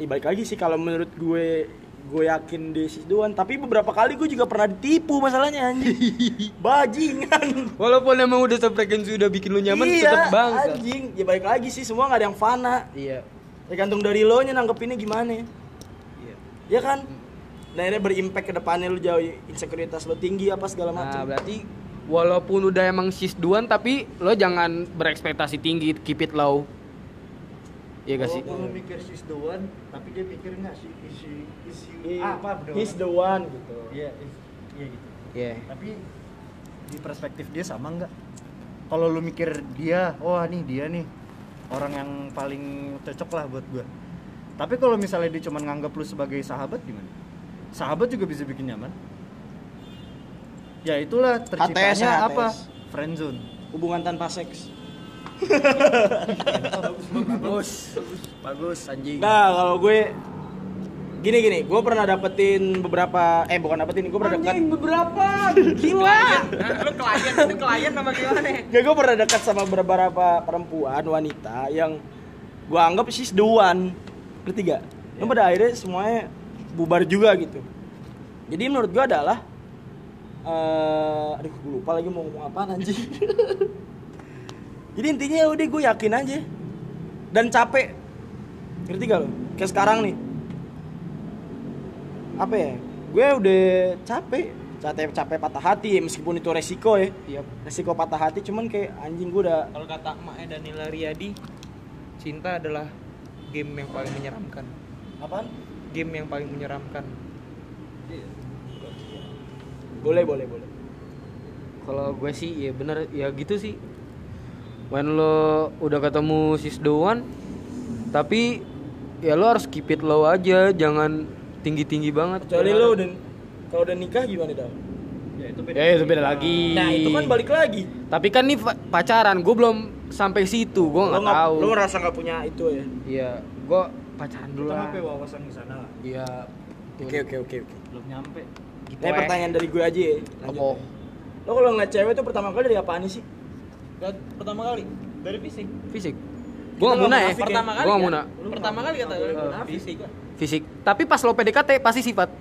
[SPEAKER 2] Ih, balik lagi sih kalau menurut gue gue yakin di Sidoan, tapi beberapa kali gue juga pernah ditipu masalahnya anjing. Bajingan.
[SPEAKER 1] Walaupun emang udah frekuensi udah bikin lu nyaman
[SPEAKER 2] iya,
[SPEAKER 1] tetep bangsa.
[SPEAKER 2] anjing. Ya balik lagi sih semua nggak ada yang fana.
[SPEAKER 1] Iya.
[SPEAKER 2] Tergantung dari lo nya nanggepinnya gimana. Iya. Ya kan? Nah, ini berimpact ke depannya lu jauh insekuritas lo tinggi apa segala
[SPEAKER 1] Nah,
[SPEAKER 2] macam.
[SPEAKER 1] berarti walaupun udah emang sisduan tapi lo jangan berekspektasi tinggi, keep it low. Iya gak sih?
[SPEAKER 5] Kalau lu mikir she's the one, tapi dia mikir nggak sih is she is you
[SPEAKER 2] He-
[SPEAKER 5] apa bro?
[SPEAKER 2] Iya. He's the one gitu.
[SPEAKER 5] Iya, is- iya gitu.
[SPEAKER 1] Iya.
[SPEAKER 5] Tapi
[SPEAKER 4] di perspektif dia sama nggak kalau lu mikir dia wah nih dia nih orang yang paling cocok lah buat gua tapi kalau misalnya dia cuma nganggap lu sebagai sahabat gimana sahabat juga bisa bikin nyaman ya itulah terciptanya
[SPEAKER 2] HTS ya, HTS.
[SPEAKER 4] apa friendzone
[SPEAKER 2] Hubungan tanpa (laughs) seks.
[SPEAKER 1] Bagus. Bagus anjing.
[SPEAKER 2] Nah, kalau gue gini gini, gue pernah dapetin beberapa eh bukan dapetin, gue pernah dekat.
[SPEAKER 1] beberapa? Gila.
[SPEAKER 3] nah, lu klien itu klien nama gimana ya?
[SPEAKER 2] Gak, gue pernah dekat sama beberapa perempuan wanita yang gue anggap she's the one. Ngerti gak? Dan pada akhirnya semuanya bubar juga gitu. Jadi menurut gue adalah eh aduh gue lupa lagi mau ngomong apa anjing. Jadi intinya ya udah gue yakin aja dan capek. Ngerti gak lo? Kayak sekarang nih. Apa ya? Gue udah capek, capek capek patah hati ya, meskipun itu resiko ya
[SPEAKER 1] Iya.
[SPEAKER 2] resiko patah hati cuman kayak anjing gue udah
[SPEAKER 3] kalau kata emaknya Danila Riyadi cinta adalah game yang paling menyeramkan
[SPEAKER 2] apaan
[SPEAKER 3] game yang paling menyeramkan
[SPEAKER 2] boleh boleh boleh
[SPEAKER 1] Kalau gue sih ya bener ya gitu sih. When lo udah ketemu sis doan tapi ya lo harus keep it low aja, jangan tinggi-tinggi banget.
[SPEAKER 2] kecuali lo udah kalau udah nikah gimana dong
[SPEAKER 5] ya itu beda.
[SPEAKER 1] Ya itu beda lagi.
[SPEAKER 2] nah itu kan balik lagi
[SPEAKER 1] Tapi kan nih fa- pacaran, gue belum sampai situ, gue
[SPEAKER 2] lo
[SPEAKER 1] nggak tahu.
[SPEAKER 2] lo ngerasa nggak punya itu ya
[SPEAKER 1] Iya, gue pacaran
[SPEAKER 5] Kita
[SPEAKER 1] dulu lah.
[SPEAKER 5] sampai wawasan di sana lah.
[SPEAKER 1] Iya.
[SPEAKER 2] oke oke oke oke
[SPEAKER 5] Belum nyampe.
[SPEAKER 1] Gitu
[SPEAKER 2] nah
[SPEAKER 1] eh.
[SPEAKER 2] pertanyaan dari gue aja ya
[SPEAKER 1] Apa?
[SPEAKER 2] lanjut. lo kalau ngeliat cewek tuh pertama kali dari apaan sih
[SPEAKER 3] Dan pertama kali dari fisik
[SPEAKER 1] Fisik. Gue
[SPEAKER 2] nggak
[SPEAKER 1] nggak muna ya.
[SPEAKER 2] munafik ya.
[SPEAKER 3] pertama kali
[SPEAKER 1] Gue
[SPEAKER 3] kan?
[SPEAKER 1] nggak muna.
[SPEAKER 3] Lu pertama kali kata lu fisik
[SPEAKER 1] Fisik. Tapi pas lo PDKT pasti sifat.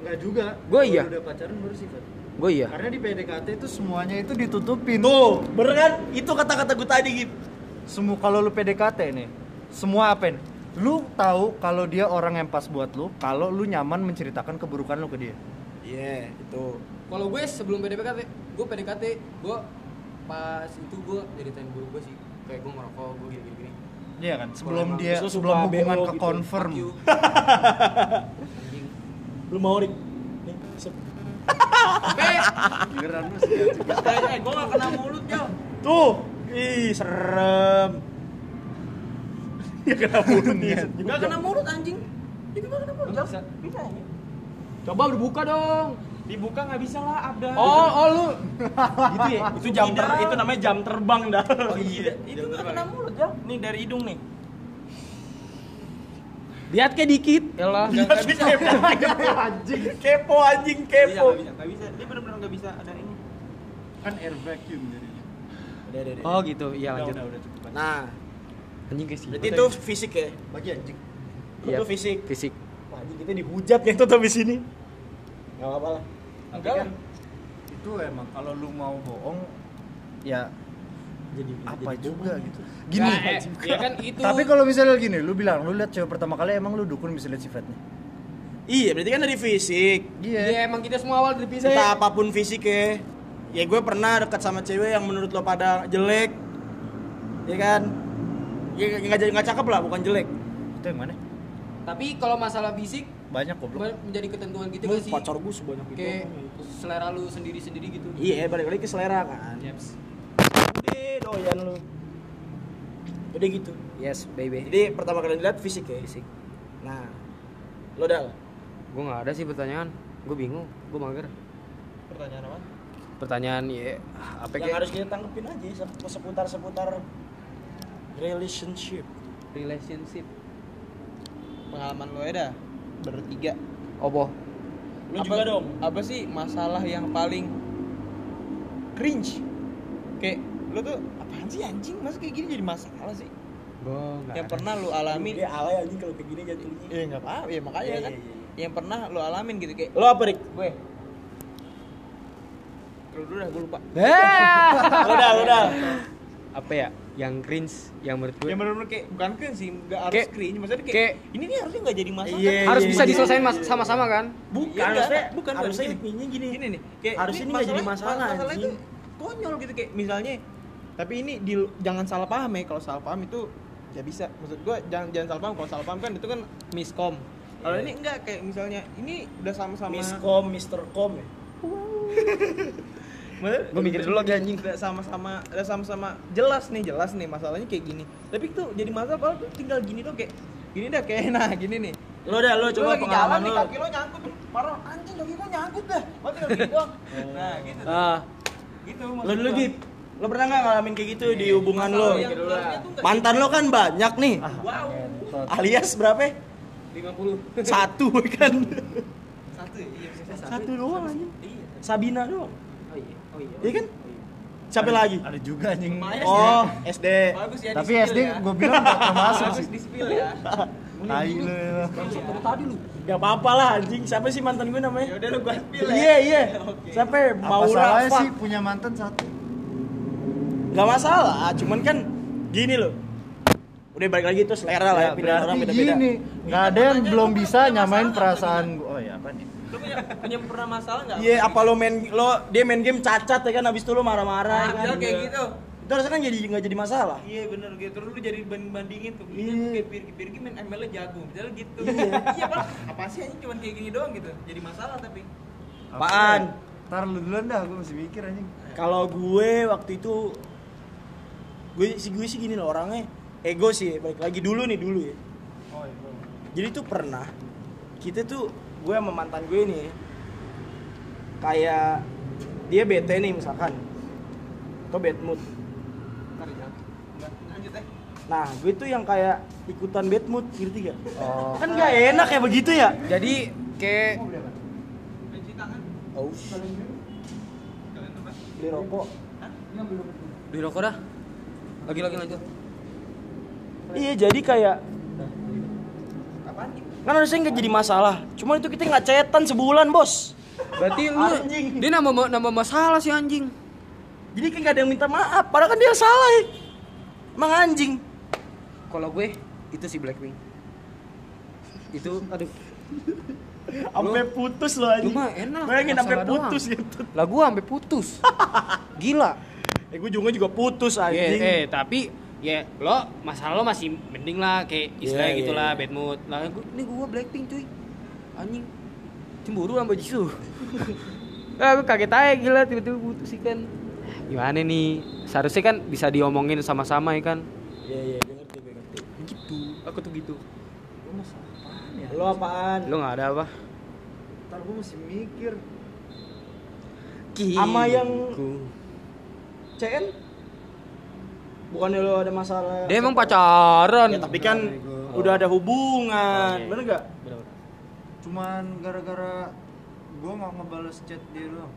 [SPEAKER 5] Enggak juga.
[SPEAKER 1] Gua
[SPEAKER 5] Kalau
[SPEAKER 1] iya.
[SPEAKER 5] Udah pacaran baru sifat.
[SPEAKER 1] Gue iya.
[SPEAKER 5] Karena di PDKT itu semuanya itu ditutupin.
[SPEAKER 2] tuh bener kan itu kata-kata gue tadi gitu
[SPEAKER 4] semua kalau lu PDKT nih semua apa nih lu tahu kalau dia orang yang pas buat lu kalau lu nyaman menceritakan keburukan lu ke dia
[SPEAKER 2] iya itu
[SPEAKER 1] Kalau gue sebelum PDKT, gue PDKT, gue pas itu gue ceritain guru gue sih kayak gue ngerokok, gue gini-gini.
[SPEAKER 4] Iya kan, sebelum
[SPEAKER 1] emang
[SPEAKER 4] dia
[SPEAKER 2] lu suka
[SPEAKER 4] sebelum hubungan
[SPEAKER 2] BO
[SPEAKER 4] ke
[SPEAKER 2] gitu,
[SPEAKER 4] confirm.
[SPEAKER 2] belum mau rik Nih, sep.
[SPEAKER 4] Giliran lu sih.
[SPEAKER 3] eh gue gak kena mulut jauh
[SPEAKER 2] tuh ih serem (laughs) ya kenapa nih
[SPEAKER 3] gak kena mulut anjing itu gak kena mulut Jal.
[SPEAKER 5] Bisa.
[SPEAKER 3] bisa ya?
[SPEAKER 1] Coba berbuka dong.
[SPEAKER 3] dibuka nggak bisa lah abda
[SPEAKER 1] Oh, oh lu.
[SPEAKER 2] gitu ya Oh, iya. itu jam ter
[SPEAKER 3] Tidak.
[SPEAKER 2] itu namanya jam terbang dah
[SPEAKER 3] Tidak, itu nggak kena mulut ya nih dari hidung nih
[SPEAKER 1] Lihat kayak dikit. Elah.
[SPEAKER 2] Tapi kepo anjing kepo anjing kepo
[SPEAKER 3] nggak bisa nggak bisa dia benar-benar nggak bisa ada ini
[SPEAKER 5] Kan air vacuum jadi.
[SPEAKER 2] Udah, udah, udah.
[SPEAKER 1] (laughs) Oh gitu, iya
[SPEAKER 4] udah,
[SPEAKER 1] lanjut.
[SPEAKER 4] udah, udah cukup aja.
[SPEAKER 2] Nah,
[SPEAKER 1] Anjing guys.
[SPEAKER 2] berarti itu fisik ya.
[SPEAKER 5] bagi anjing
[SPEAKER 2] Itu fisik.
[SPEAKER 1] Fisik. Nah,
[SPEAKER 2] Wah, anjing, kita dihujat ya tuh habis ini. Enggak apa-apa lah.
[SPEAKER 4] Tapi
[SPEAKER 2] Enggak
[SPEAKER 4] kan itu emang kalau lu mau bohong ya
[SPEAKER 2] Jadi
[SPEAKER 4] apa juga gitu. Gini. Iya
[SPEAKER 6] Nah, eh, ya
[SPEAKER 1] iya
[SPEAKER 6] kan itu.
[SPEAKER 4] Tapi kalau misalnya gini, lu bilang lu lihat cewek pertama kali emang lu dukun bisa lihat sifatnya. Iya.
[SPEAKER 2] Iya, berarti kan dari fisik.
[SPEAKER 1] Iya,
[SPEAKER 6] ya emang kita semua awal dari fisik.
[SPEAKER 2] Entah apapun fisik ya. Ya gue pernah dekat sama cewek yang menurut lo pada jelek. Ya kan? Ya nggak jadi nggak cakep lah, bukan jelek.
[SPEAKER 4] Itu yang mana?
[SPEAKER 6] Tapi kalau masalah fisik
[SPEAKER 4] Banyak goblok.
[SPEAKER 6] men- menjadi ketentuan gitu
[SPEAKER 2] Mau
[SPEAKER 6] gak sih?
[SPEAKER 2] pacar gue sebanyak itu.
[SPEAKER 6] Kayak selera lu sendiri-sendiri gitu.
[SPEAKER 2] Iya, balik lagi ke selera kan.
[SPEAKER 6] Yaps.
[SPEAKER 2] Udah doyan lu. Udah gitu.
[SPEAKER 1] Yes, baby.
[SPEAKER 2] Jadi pertama kali dilihat fisik ya. Fisik. Nah, lo dal.
[SPEAKER 1] Gue nggak ada sih pertanyaan. Gue bingung. Gue mager.
[SPEAKER 3] Pertanyaan apa?
[SPEAKER 1] Pertanyaan ya apa
[SPEAKER 2] Yang
[SPEAKER 1] kayak
[SPEAKER 2] harus kita tanggepin aja se- seputar-seputar relationship.
[SPEAKER 1] relationship.
[SPEAKER 3] Pengalaman lo ya dah. Bertiga.
[SPEAKER 1] Opo.
[SPEAKER 3] Lu juga dong. Apa sih masalah yang paling cringe? Kayak lu tuh apaan sih anjing? Masa kayak gini jadi masalah sih? yang pernah lu alamin?
[SPEAKER 2] Dia alay aja kalau kayak gini jatuhnya.
[SPEAKER 3] Ya enggak iya. apa-apa, ya makanya
[SPEAKER 2] Iya,
[SPEAKER 3] kan.
[SPEAKER 2] iya,
[SPEAKER 3] Yang pernah lu alamin gitu kayak
[SPEAKER 2] Lo apa, Rik?
[SPEAKER 3] gue. Lu dulu dah gue lupa.
[SPEAKER 1] Eh!
[SPEAKER 2] Lo dal, lo dal.
[SPEAKER 1] Apa ya? Yang cringe, yang menurut gue
[SPEAKER 3] Yang benar-benar kayak bukan cringe sih, enggak harus
[SPEAKER 1] Kayak-
[SPEAKER 3] cringe, maksudnya kayak,
[SPEAKER 1] kayak-
[SPEAKER 3] ini nih harusnya enggak jadi masalah. kan?"
[SPEAKER 2] Iya,
[SPEAKER 1] harus
[SPEAKER 2] iya,
[SPEAKER 1] bisa
[SPEAKER 2] iya,
[SPEAKER 1] diselesain
[SPEAKER 2] iya,
[SPEAKER 1] mas-
[SPEAKER 2] iya.
[SPEAKER 1] sama-sama kan?
[SPEAKER 3] Bukan,
[SPEAKER 2] Iya, harusnya,
[SPEAKER 3] Ya enggak. bukan
[SPEAKER 2] harusnya
[SPEAKER 3] bukan.
[SPEAKER 2] ininya gini.
[SPEAKER 3] gini nih kayak
[SPEAKER 2] Harusnya ini nggak jadi masalah,
[SPEAKER 3] masalah itu
[SPEAKER 2] anjing.
[SPEAKER 3] konyol gitu kayak misalnya tapi ini di, jangan salah paham ya kalau salah paham itu ya bisa maksud gua jangan jangan salah paham kalau salah paham kan itu kan miskom kalau ini enggak kayak misalnya ini udah sama-sama
[SPEAKER 2] Miskom, Mr. Com ya.
[SPEAKER 3] Maksudnya
[SPEAKER 1] Gua mikir dulu lagi, anjing.
[SPEAKER 3] udah sama-sama udah sama-sama jelas nih jelas nih masalahnya kayak gini tapi itu jadi masalah kalau tuh tinggal gini tuh kayak gini dah kayak (laughs) nah gini nih
[SPEAKER 2] Lo dah, lo coba
[SPEAKER 3] lagi
[SPEAKER 2] pengalaman
[SPEAKER 3] jalan nih
[SPEAKER 2] lo.
[SPEAKER 3] kaki lo nyangkut parah anjing kaki gua nyangkut dah mati tinggal gini (laughs) doang nah gitu
[SPEAKER 1] Ah,
[SPEAKER 3] gitu
[SPEAKER 2] Lo dulu, Gip. Lo pernah nggak ngalamin kayak gitu di hubungan lo?
[SPEAKER 3] Masalah gitu. yang seharusnya tuh nggak-
[SPEAKER 2] Mantan lo kan banyak nih.
[SPEAKER 3] wow
[SPEAKER 4] Iya.
[SPEAKER 2] Alias berapa? ya?
[SPEAKER 3] 50
[SPEAKER 2] Satu kan.
[SPEAKER 3] satu ya iya bisa
[SPEAKER 2] Satu doang aja. Sabina doang.
[SPEAKER 1] oh iya, oh iya.
[SPEAKER 2] Iya kan? Siapa lagi?
[SPEAKER 4] Ada juga anjing.
[SPEAKER 2] Oh, SD.
[SPEAKER 3] bagus ya
[SPEAKER 4] Tapi
[SPEAKER 3] di spill
[SPEAKER 4] SD
[SPEAKER 3] ya.
[SPEAKER 4] gue bilang gak termasuk
[SPEAKER 3] (laughs) bagus
[SPEAKER 4] sih.
[SPEAKER 3] di spill
[SPEAKER 2] (laughs)
[SPEAKER 3] ya
[SPEAKER 4] Tai lu. emang.
[SPEAKER 2] Gak apa-apa lah anjing. Siapa sih mantan gue
[SPEAKER 3] ya
[SPEAKER 2] namanya?
[SPEAKER 3] udah lu gua spill ya
[SPEAKER 2] Iya,
[SPEAKER 3] (laughs)
[SPEAKER 2] iya. Siapa? ya?
[SPEAKER 4] Apa
[SPEAKER 2] Maura.
[SPEAKER 4] salahnya
[SPEAKER 2] fuck.
[SPEAKER 4] sih punya mantan satu?
[SPEAKER 2] Gak masalah, cuman kan gini loh. Udah balik lagi itu selera lah ya, pindah orang
[SPEAKER 4] Berarti
[SPEAKER 2] beda-beda.
[SPEAKER 4] gini, nggak ada yang belum bisa nyamain perasaan gue. Oh ya apa nih?
[SPEAKER 3] lu punya punya pernah masalah nggak
[SPEAKER 2] Iya, apa lo main lo dia main game cacat ya kan habis itu lo marah-marah ya
[SPEAKER 3] nah,
[SPEAKER 2] kan.
[SPEAKER 3] misalnya kayak gitu
[SPEAKER 2] Itu harusnya kan jadi nggak jadi masalah.
[SPEAKER 3] Iya bener gitu, terus lu jadi banding bandingin tuh Gitu,
[SPEAKER 2] Iya.
[SPEAKER 3] Kayak Pirgi, Pirgi main ML nya jago, misalnya gitu (laughs) Iya pak, apa sih anjing cuman kayak gini doang gitu, jadi masalah tapi
[SPEAKER 2] Apaan?
[SPEAKER 4] Ntar lu duluan dah, gue masih mikir anjing.
[SPEAKER 2] Kalau gue waktu itu gue si gue sih gini loh orangnya ego sih balik lagi dulu nih dulu ya. Jadi tuh pernah kita tuh gue sama mantan gue nih kayak dia bete nih misalkan atau bad mood
[SPEAKER 3] Ntar ya, Nggak, lanjut eh
[SPEAKER 2] Nah, gue tuh yang kayak ikutan bad mood, ngerti gak?
[SPEAKER 3] Oh.
[SPEAKER 2] Kan gak enak ya begitu ya?
[SPEAKER 1] Jadi kayak
[SPEAKER 3] Cuci tangan,
[SPEAKER 2] Aus. Beli rokok.
[SPEAKER 1] di rokok dah. Lagi lagi lanjut.
[SPEAKER 2] Iya, jadi kayak
[SPEAKER 1] gitu?
[SPEAKER 2] kan harusnya nggak jadi masalah. Cuman itu kita nggak cetan sebulan, bos.
[SPEAKER 1] Berarti lu
[SPEAKER 2] Anjing.
[SPEAKER 1] dia nambah nambah masalah sih anjing.
[SPEAKER 2] Jadi kayak nggak ada yang minta maaf. Padahal kan dia yang salah. Ya. Emang anjing.
[SPEAKER 1] Kalau gue itu si Blackpink. Itu aduh.
[SPEAKER 2] Sampai putus loh anjing.
[SPEAKER 1] Lu mah enak,
[SPEAKER 2] Bayangin sampai
[SPEAKER 1] masalah doang.
[SPEAKER 2] putus gitu.
[SPEAKER 1] Lah gue sampai (laughs) putus. Gila.
[SPEAKER 2] Eh, gue juga juga putus
[SPEAKER 1] Ya,
[SPEAKER 2] anjing.
[SPEAKER 1] eh tapi ya lo masalah lo masih mending lah kayak istilahnya
[SPEAKER 2] Iya,
[SPEAKER 1] gitulah
[SPEAKER 2] iya.
[SPEAKER 1] bad mood. Lah gua- ini gua Blackpink cuy. Anjing cemburu sama (laughs) Jisoo. Lah gua kaget aja gila tiba-tiba putus ikan. Gimana nih? Seharusnya kan bisa diomongin sama-sama ya kan.
[SPEAKER 2] Iya, iya, gue ngerti, gue ngerti.
[SPEAKER 1] Gitu. Aku tuh gitu.
[SPEAKER 2] Lo apaan?
[SPEAKER 1] Lo ya? nggak ada apa?
[SPEAKER 4] Ntar gue masih mikir.
[SPEAKER 1] Iya,
[SPEAKER 2] Sama yang-
[SPEAKER 1] Kiku.
[SPEAKER 2] CN? Bukannya lo ada masalah?
[SPEAKER 1] Dia emang pacaran.
[SPEAKER 2] Ya, tapi kan udah ada hubungan,
[SPEAKER 1] Oh, iya, iya.
[SPEAKER 2] bener gak? Iya,
[SPEAKER 4] Cuman gara-gara gue nggak ngebales chat dia doang.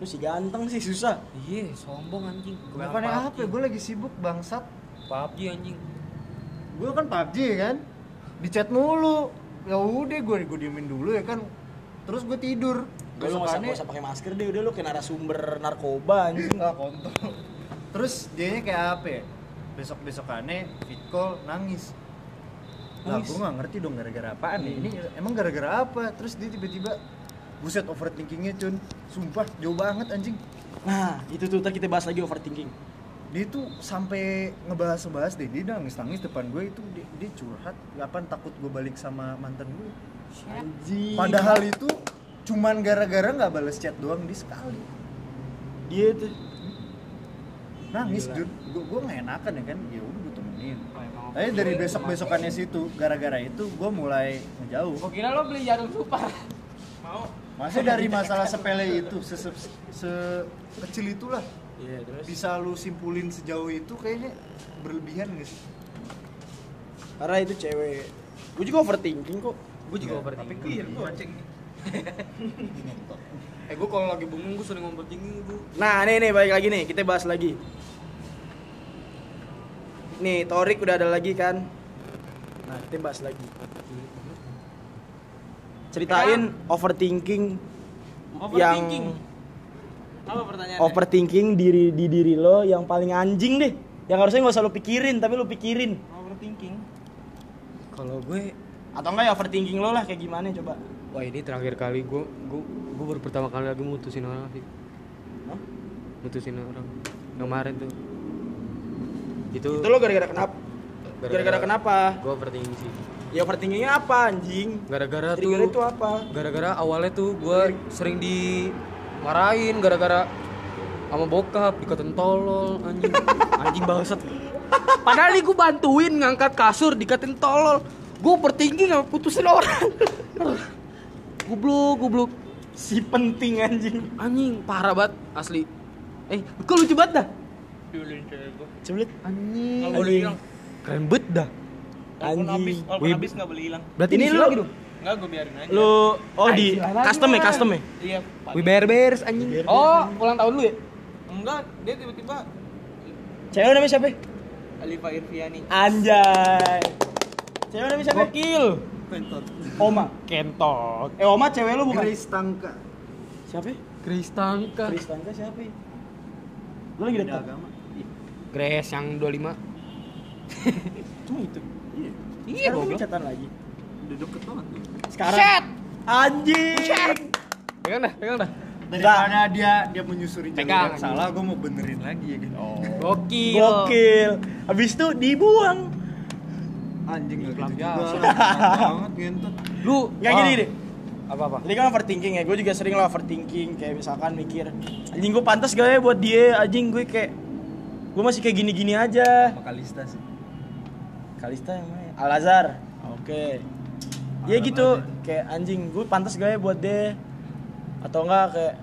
[SPEAKER 2] lu si ganteng sih susah
[SPEAKER 1] Iya, sombong anjing.
[SPEAKER 4] Bukan apa, gue lagi sibuk bangsat.
[SPEAKER 1] PUBG anjing.
[SPEAKER 4] Gue kan PUBG kan. Di chat mulu. Ya udah gue gue diemin dulu ya kan. Terus gue tidur.
[SPEAKER 2] Udah, lu nggak usah
[SPEAKER 4] Besokannya
[SPEAKER 2] nggak usah pakai masker deh udah lu kayak narasumber narkoba anjing
[SPEAKER 4] nggak kontol. Terus dianya kayak apa ya? Besok-besokannya fit call nangis. Lah
[SPEAKER 2] Nangis. Hmm.
[SPEAKER 4] gue nggak ngerti dong gara-gara apaan nih. Ini emang gara-gara apa? Terus dia tiba-tiba buset overthinkingnya cun. Sumpah jauh banget anjing.
[SPEAKER 2] nah itu tuh ntar kita bahas lagi overthinking
[SPEAKER 4] dia tuh sampai ngebahas-ngebahas deh dia nangis nangis depan gue itu dia, dia curhat kapan takut gue balik sama mantan gue
[SPEAKER 2] anjing
[SPEAKER 4] padahal itu cuman gara-gara nggak balas chat doang di sekali
[SPEAKER 2] dia tuh
[SPEAKER 4] nangis Jun gue gue nggak enakan ya kan ya udah gue temenin
[SPEAKER 6] Oh,
[SPEAKER 4] tapi dari besok besokannya situ gara-gara itu gue mulai ngejauh
[SPEAKER 6] Gua kira lo beli jarum super.
[SPEAKER 4] masih dari masalah sepele itu se- se- sekecil itulah
[SPEAKER 2] iya terus
[SPEAKER 4] bisa lu simpulin sejauh itu kayaknya berlebihan guys
[SPEAKER 2] karena itu cewek gue juga overthinking kok
[SPEAKER 1] Gue juga
[SPEAKER 2] Iya,
[SPEAKER 1] overthinking.
[SPEAKER 3] Pikir gue anjing.
[SPEAKER 1] Eh, gue kalau lagi bingung gue sering overthinking gue.
[SPEAKER 2] Nah, nih nih balik lagi nih, kita bahas lagi. Nih, Torik udah ada lagi kan? Nah, kita bahas lagi. Ceritain overthinking, yang
[SPEAKER 3] Overthinking. Apa pertanyaannya?
[SPEAKER 2] overthinking diri di diri lo yang paling anjing deh. Yang harusnya nggak usah lo pikirin, tapi lo pikirin.
[SPEAKER 3] Overthinking.
[SPEAKER 1] Kalau gue
[SPEAKER 2] Atau enggak ya overthinking lo lah kayak gimana coba?
[SPEAKER 1] Wah ini terakhir kali gue gue gue baru pertama kali lagi mutusin orang sih.
[SPEAKER 2] Hah?
[SPEAKER 1] Mutusin orang yang kemarin tuh. Itu,
[SPEAKER 2] Itu lo gara-gara kenapa?
[SPEAKER 1] Gara-gara-
[SPEAKER 2] Gara-gara kenapa?
[SPEAKER 1] gue overthinking sih.
[SPEAKER 2] Ya overthinkingnya apa anjing?
[SPEAKER 1] Gara-gara tuh.
[SPEAKER 2] Trigger itu apa?
[SPEAKER 1] Gara-gara awalnya tuh gue sering dimarahin gara-gara sama bokap dikatain tolol
[SPEAKER 2] (laughs)
[SPEAKER 1] anjing anjing bangsat padahal nih gue bantuin ngangkat kasur dikatain tolol gue overthinking sama putusin orang (laughs) goblok goblok
[SPEAKER 2] Si penting anjing.
[SPEAKER 1] Anjing parah banget asli. Eh, kok lucu banget dah.
[SPEAKER 2] Cebelit.
[SPEAKER 1] Anjing.
[SPEAKER 3] Nggak boleh hilang.
[SPEAKER 1] Keren banget dah.
[SPEAKER 3] Walaupun habis,
[SPEAKER 2] Anjing.
[SPEAKER 3] walaupun
[SPEAKER 1] Wih.
[SPEAKER 3] habis nggak boleh hilang.
[SPEAKER 1] Berarti gitu?
[SPEAKER 2] Ini
[SPEAKER 1] diisi
[SPEAKER 2] lu-
[SPEAKER 1] lagi dong.
[SPEAKER 3] Nggak gue biarin aja.
[SPEAKER 2] Lu oh di custom ya, custom ya?
[SPEAKER 3] Iya. Pak.
[SPEAKER 1] We bear bears anjing.
[SPEAKER 6] Oh, ulang tahun lu ya?
[SPEAKER 3] Enggak, dia tiba-tiba
[SPEAKER 2] Cewek namanya siapa?
[SPEAKER 3] Alifa Irviani.
[SPEAKER 2] Anjay. Cewek namanya siapa? Gokil.
[SPEAKER 3] Bentot.
[SPEAKER 2] Oma. Kentot. Eh Oma cewek lu bukan?
[SPEAKER 4] Grace Tangka
[SPEAKER 2] Siapa?
[SPEAKER 1] Kristangka.
[SPEAKER 2] Kristangka siapa? ya? Lu lagi
[SPEAKER 4] beda
[SPEAKER 2] dekat.
[SPEAKER 4] agama
[SPEAKER 1] Grace yang 25.
[SPEAKER 2] Cuma itu.
[SPEAKER 4] iya
[SPEAKER 1] Iya,
[SPEAKER 2] Sekarang lu
[SPEAKER 1] goblok.
[SPEAKER 2] catatan lagi.
[SPEAKER 4] udah deket banget ya.
[SPEAKER 2] Sekarang.
[SPEAKER 1] Shit.
[SPEAKER 2] Anjing.
[SPEAKER 1] Pegang dah, pegang dah.
[SPEAKER 4] daripada dia dia menyusuri jalur
[SPEAKER 1] Pegang.
[SPEAKER 4] yang salah gue mau benerin lagi ya gitu
[SPEAKER 1] Gokil.
[SPEAKER 2] Gokil. Habis itu dibuang.
[SPEAKER 4] anjing gak gitu
[SPEAKER 1] Pelan
[SPEAKER 4] juga
[SPEAKER 1] biasa.
[SPEAKER 4] Pelan banget ngentut
[SPEAKER 1] Lu ah,
[SPEAKER 2] Enggak gini gini.
[SPEAKER 1] Apa-apa?
[SPEAKER 2] Jadi kan overthinking ya, gue juga sering lah overthinking Kayak misalkan mikir Anjing gue pantas gak ya buat dia, anjing gue kayak Gue masih kayak gini-gini aja
[SPEAKER 4] sama Kalista sih
[SPEAKER 2] Kalista yang mana? ya? Al Azhar. Oke. Dia
[SPEAKER 4] Parah
[SPEAKER 2] gitu
[SPEAKER 4] banget ya.
[SPEAKER 2] kayak anjing gue pantas gak ya buat dia atau enggak kayak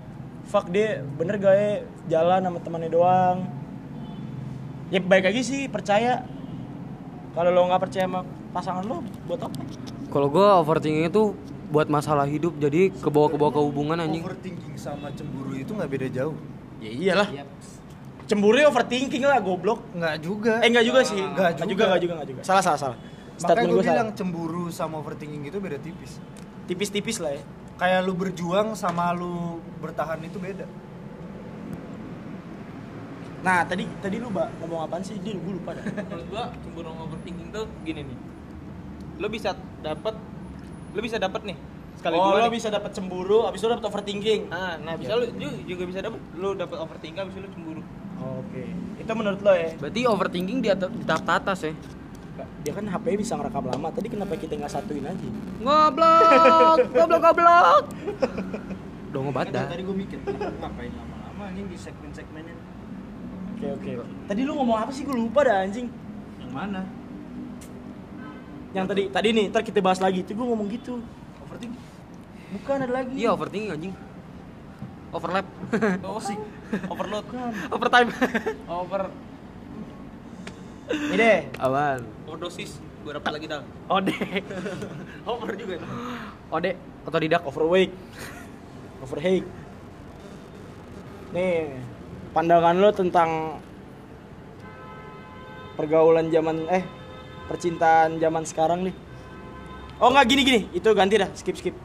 [SPEAKER 2] fuck dia bener gak ya jalan sama temannya doang. Ya baik lagi sih percaya. Kalau lo nggak percaya sama pasangan lo buat apa?
[SPEAKER 1] Kalau gue overthinking itu buat masalah hidup jadi ke bawah ke bawah ke hubungan anjing.
[SPEAKER 4] overthinking sama cemburu itu nggak beda jauh
[SPEAKER 2] Ya iyalah.
[SPEAKER 1] Iya.
[SPEAKER 2] Cemburu overthinking lah goblok.
[SPEAKER 4] nggak juga
[SPEAKER 2] Eh enggak juga sih. Nggak
[SPEAKER 4] Nggak
[SPEAKER 2] juga,
[SPEAKER 4] juga.
[SPEAKER 2] enggak juga, enggak juga. Salah, salah, salah.
[SPEAKER 4] makanya
[SPEAKER 2] Statement
[SPEAKER 4] gue
[SPEAKER 2] gue
[SPEAKER 4] bilang
[SPEAKER 2] salah.
[SPEAKER 4] cemburu sama overthinking itu beda tipis
[SPEAKER 2] Tipis-tipis lah ya.
[SPEAKER 4] kayak lu berjuang sama lu bertahan itu beda
[SPEAKER 2] Nah, tadi tadi lu Mbak, ngomong apaan sih? Dia gue (laughs) lupa dah.
[SPEAKER 3] Menurut gua cemburu sama overthinking tuh gini nih. Lo bisa dapat lo bisa dapat nih sekali
[SPEAKER 2] oh,
[SPEAKER 3] dua
[SPEAKER 2] lo
[SPEAKER 3] nih.
[SPEAKER 2] bisa dapat cemburu, abis itu dapat overthinking.
[SPEAKER 3] Ah, nah bisa lu ju- juga bisa dapat lu dapat overthinking habis itu lu (laughs) cemburu.
[SPEAKER 2] Oke. Itu menurut lo ya?
[SPEAKER 1] Berarti overthinking di, at- di tahap atas ya.
[SPEAKER 2] Dia kan HP bisa ngerekam lama. Tadi kenapa kita nggak satuin aja?
[SPEAKER 1] Goblok, goblok, goblok. Dongo banget
[SPEAKER 2] Kan
[SPEAKER 1] dah.
[SPEAKER 4] tadi gue mikir ngapain lama-lama anjing di segmen-segmenin
[SPEAKER 2] Oke oke. Tadi lu ngomong apa sih? Gue lupa dah anjing.
[SPEAKER 4] yang mana
[SPEAKER 2] Yang tadi tadi nih, ntar kita bahas lagi. Itu gue ngomong gitu.
[SPEAKER 4] overthinking
[SPEAKER 2] Bukan ada lagi.
[SPEAKER 1] Iya overthinking anjing.
[SPEAKER 2] (laughs)
[SPEAKER 1] Overlap.
[SPEAKER 3] Toxic, Oh, overload,
[SPEAKER 1] Overtime.
[SPEAKER 3] over
[SPEAKER 2] Ini deh.
[SPEAKER 1] Awan.
[SPEAKER 3] overdosis. Gue dapat lagi dal.
[SPEAKER 1] Ode.
[SPEAKER 3] Over juga.
[SPEAKER 1] Ode otodidak.
[SPEAKER 2] Overweight. Overhake. Nih, pandangan lo tentang pergaulan zaman eh percintaan zaman sekarang nih. Oh nggak gini gini, itu ganti dah, skip skip.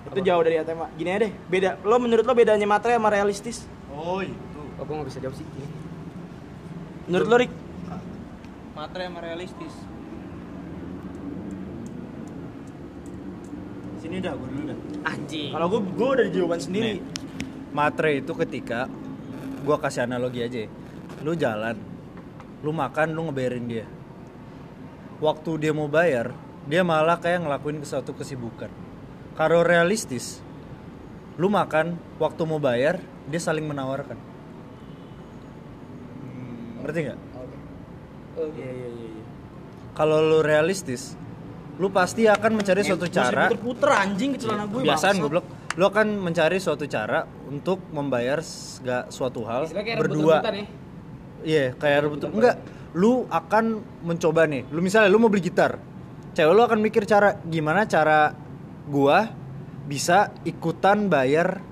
[SPEAKER 2] Itu jauh dari tema. Gini aja deh, beda. Lo menurut lo bedanya materai sama realistis?
[SPEAKER 5] Oh itu.
[SPEAKER 1] Oh, gue gak bisa jawab sih.
[SPEAKER 2] Menurut lo Rick?
[SPEAKER 3] Matre sama realistis.
[SPEAKER 5] Sini dah, gue dulu dah.
[SPEAKER 3] Anjing.
[SPEAKER 2] Kalau gue gue dari jawaban sendiri.
[SPEAKER 4] matre itu ketika gua kasih analogi aja ya. lu jalan lu makan lu ngebayarin dia waktu dia mau bayar dia malah kayak ngelakuin suatu kesibukan kalau realistis lu makan waktu mau bayar dia saling menawarkan ngerti nggak
[SPEAKER 2] Hmm. Iya iya iya. iya.
[SPEAKER 4] kalau lu realistis lu pasti akan mencari suatu
[SPEAKER 2] Masih Eh,
[SPEAKER 4] cara
[SPEAKER 2] Puter-puter anjing ke celana gue. bangsat.
[SPEAKER 4] kebiasaan goblok lu akan mencari suatu cara untuk membayar segala suatu hal
[SPEAKER 6] Istilahnya kayak
[SPEAKER 4] berdua
[SPEAKER 6] rebut-rebutan ya.
[SPEAKER 4] Iya, kayak rebut enggak. Lu akan mencoba nih. Lu misalnya lu mau beli gitar. Cewek lu akan mikir cara gimana cara gua bisa ikutan bayar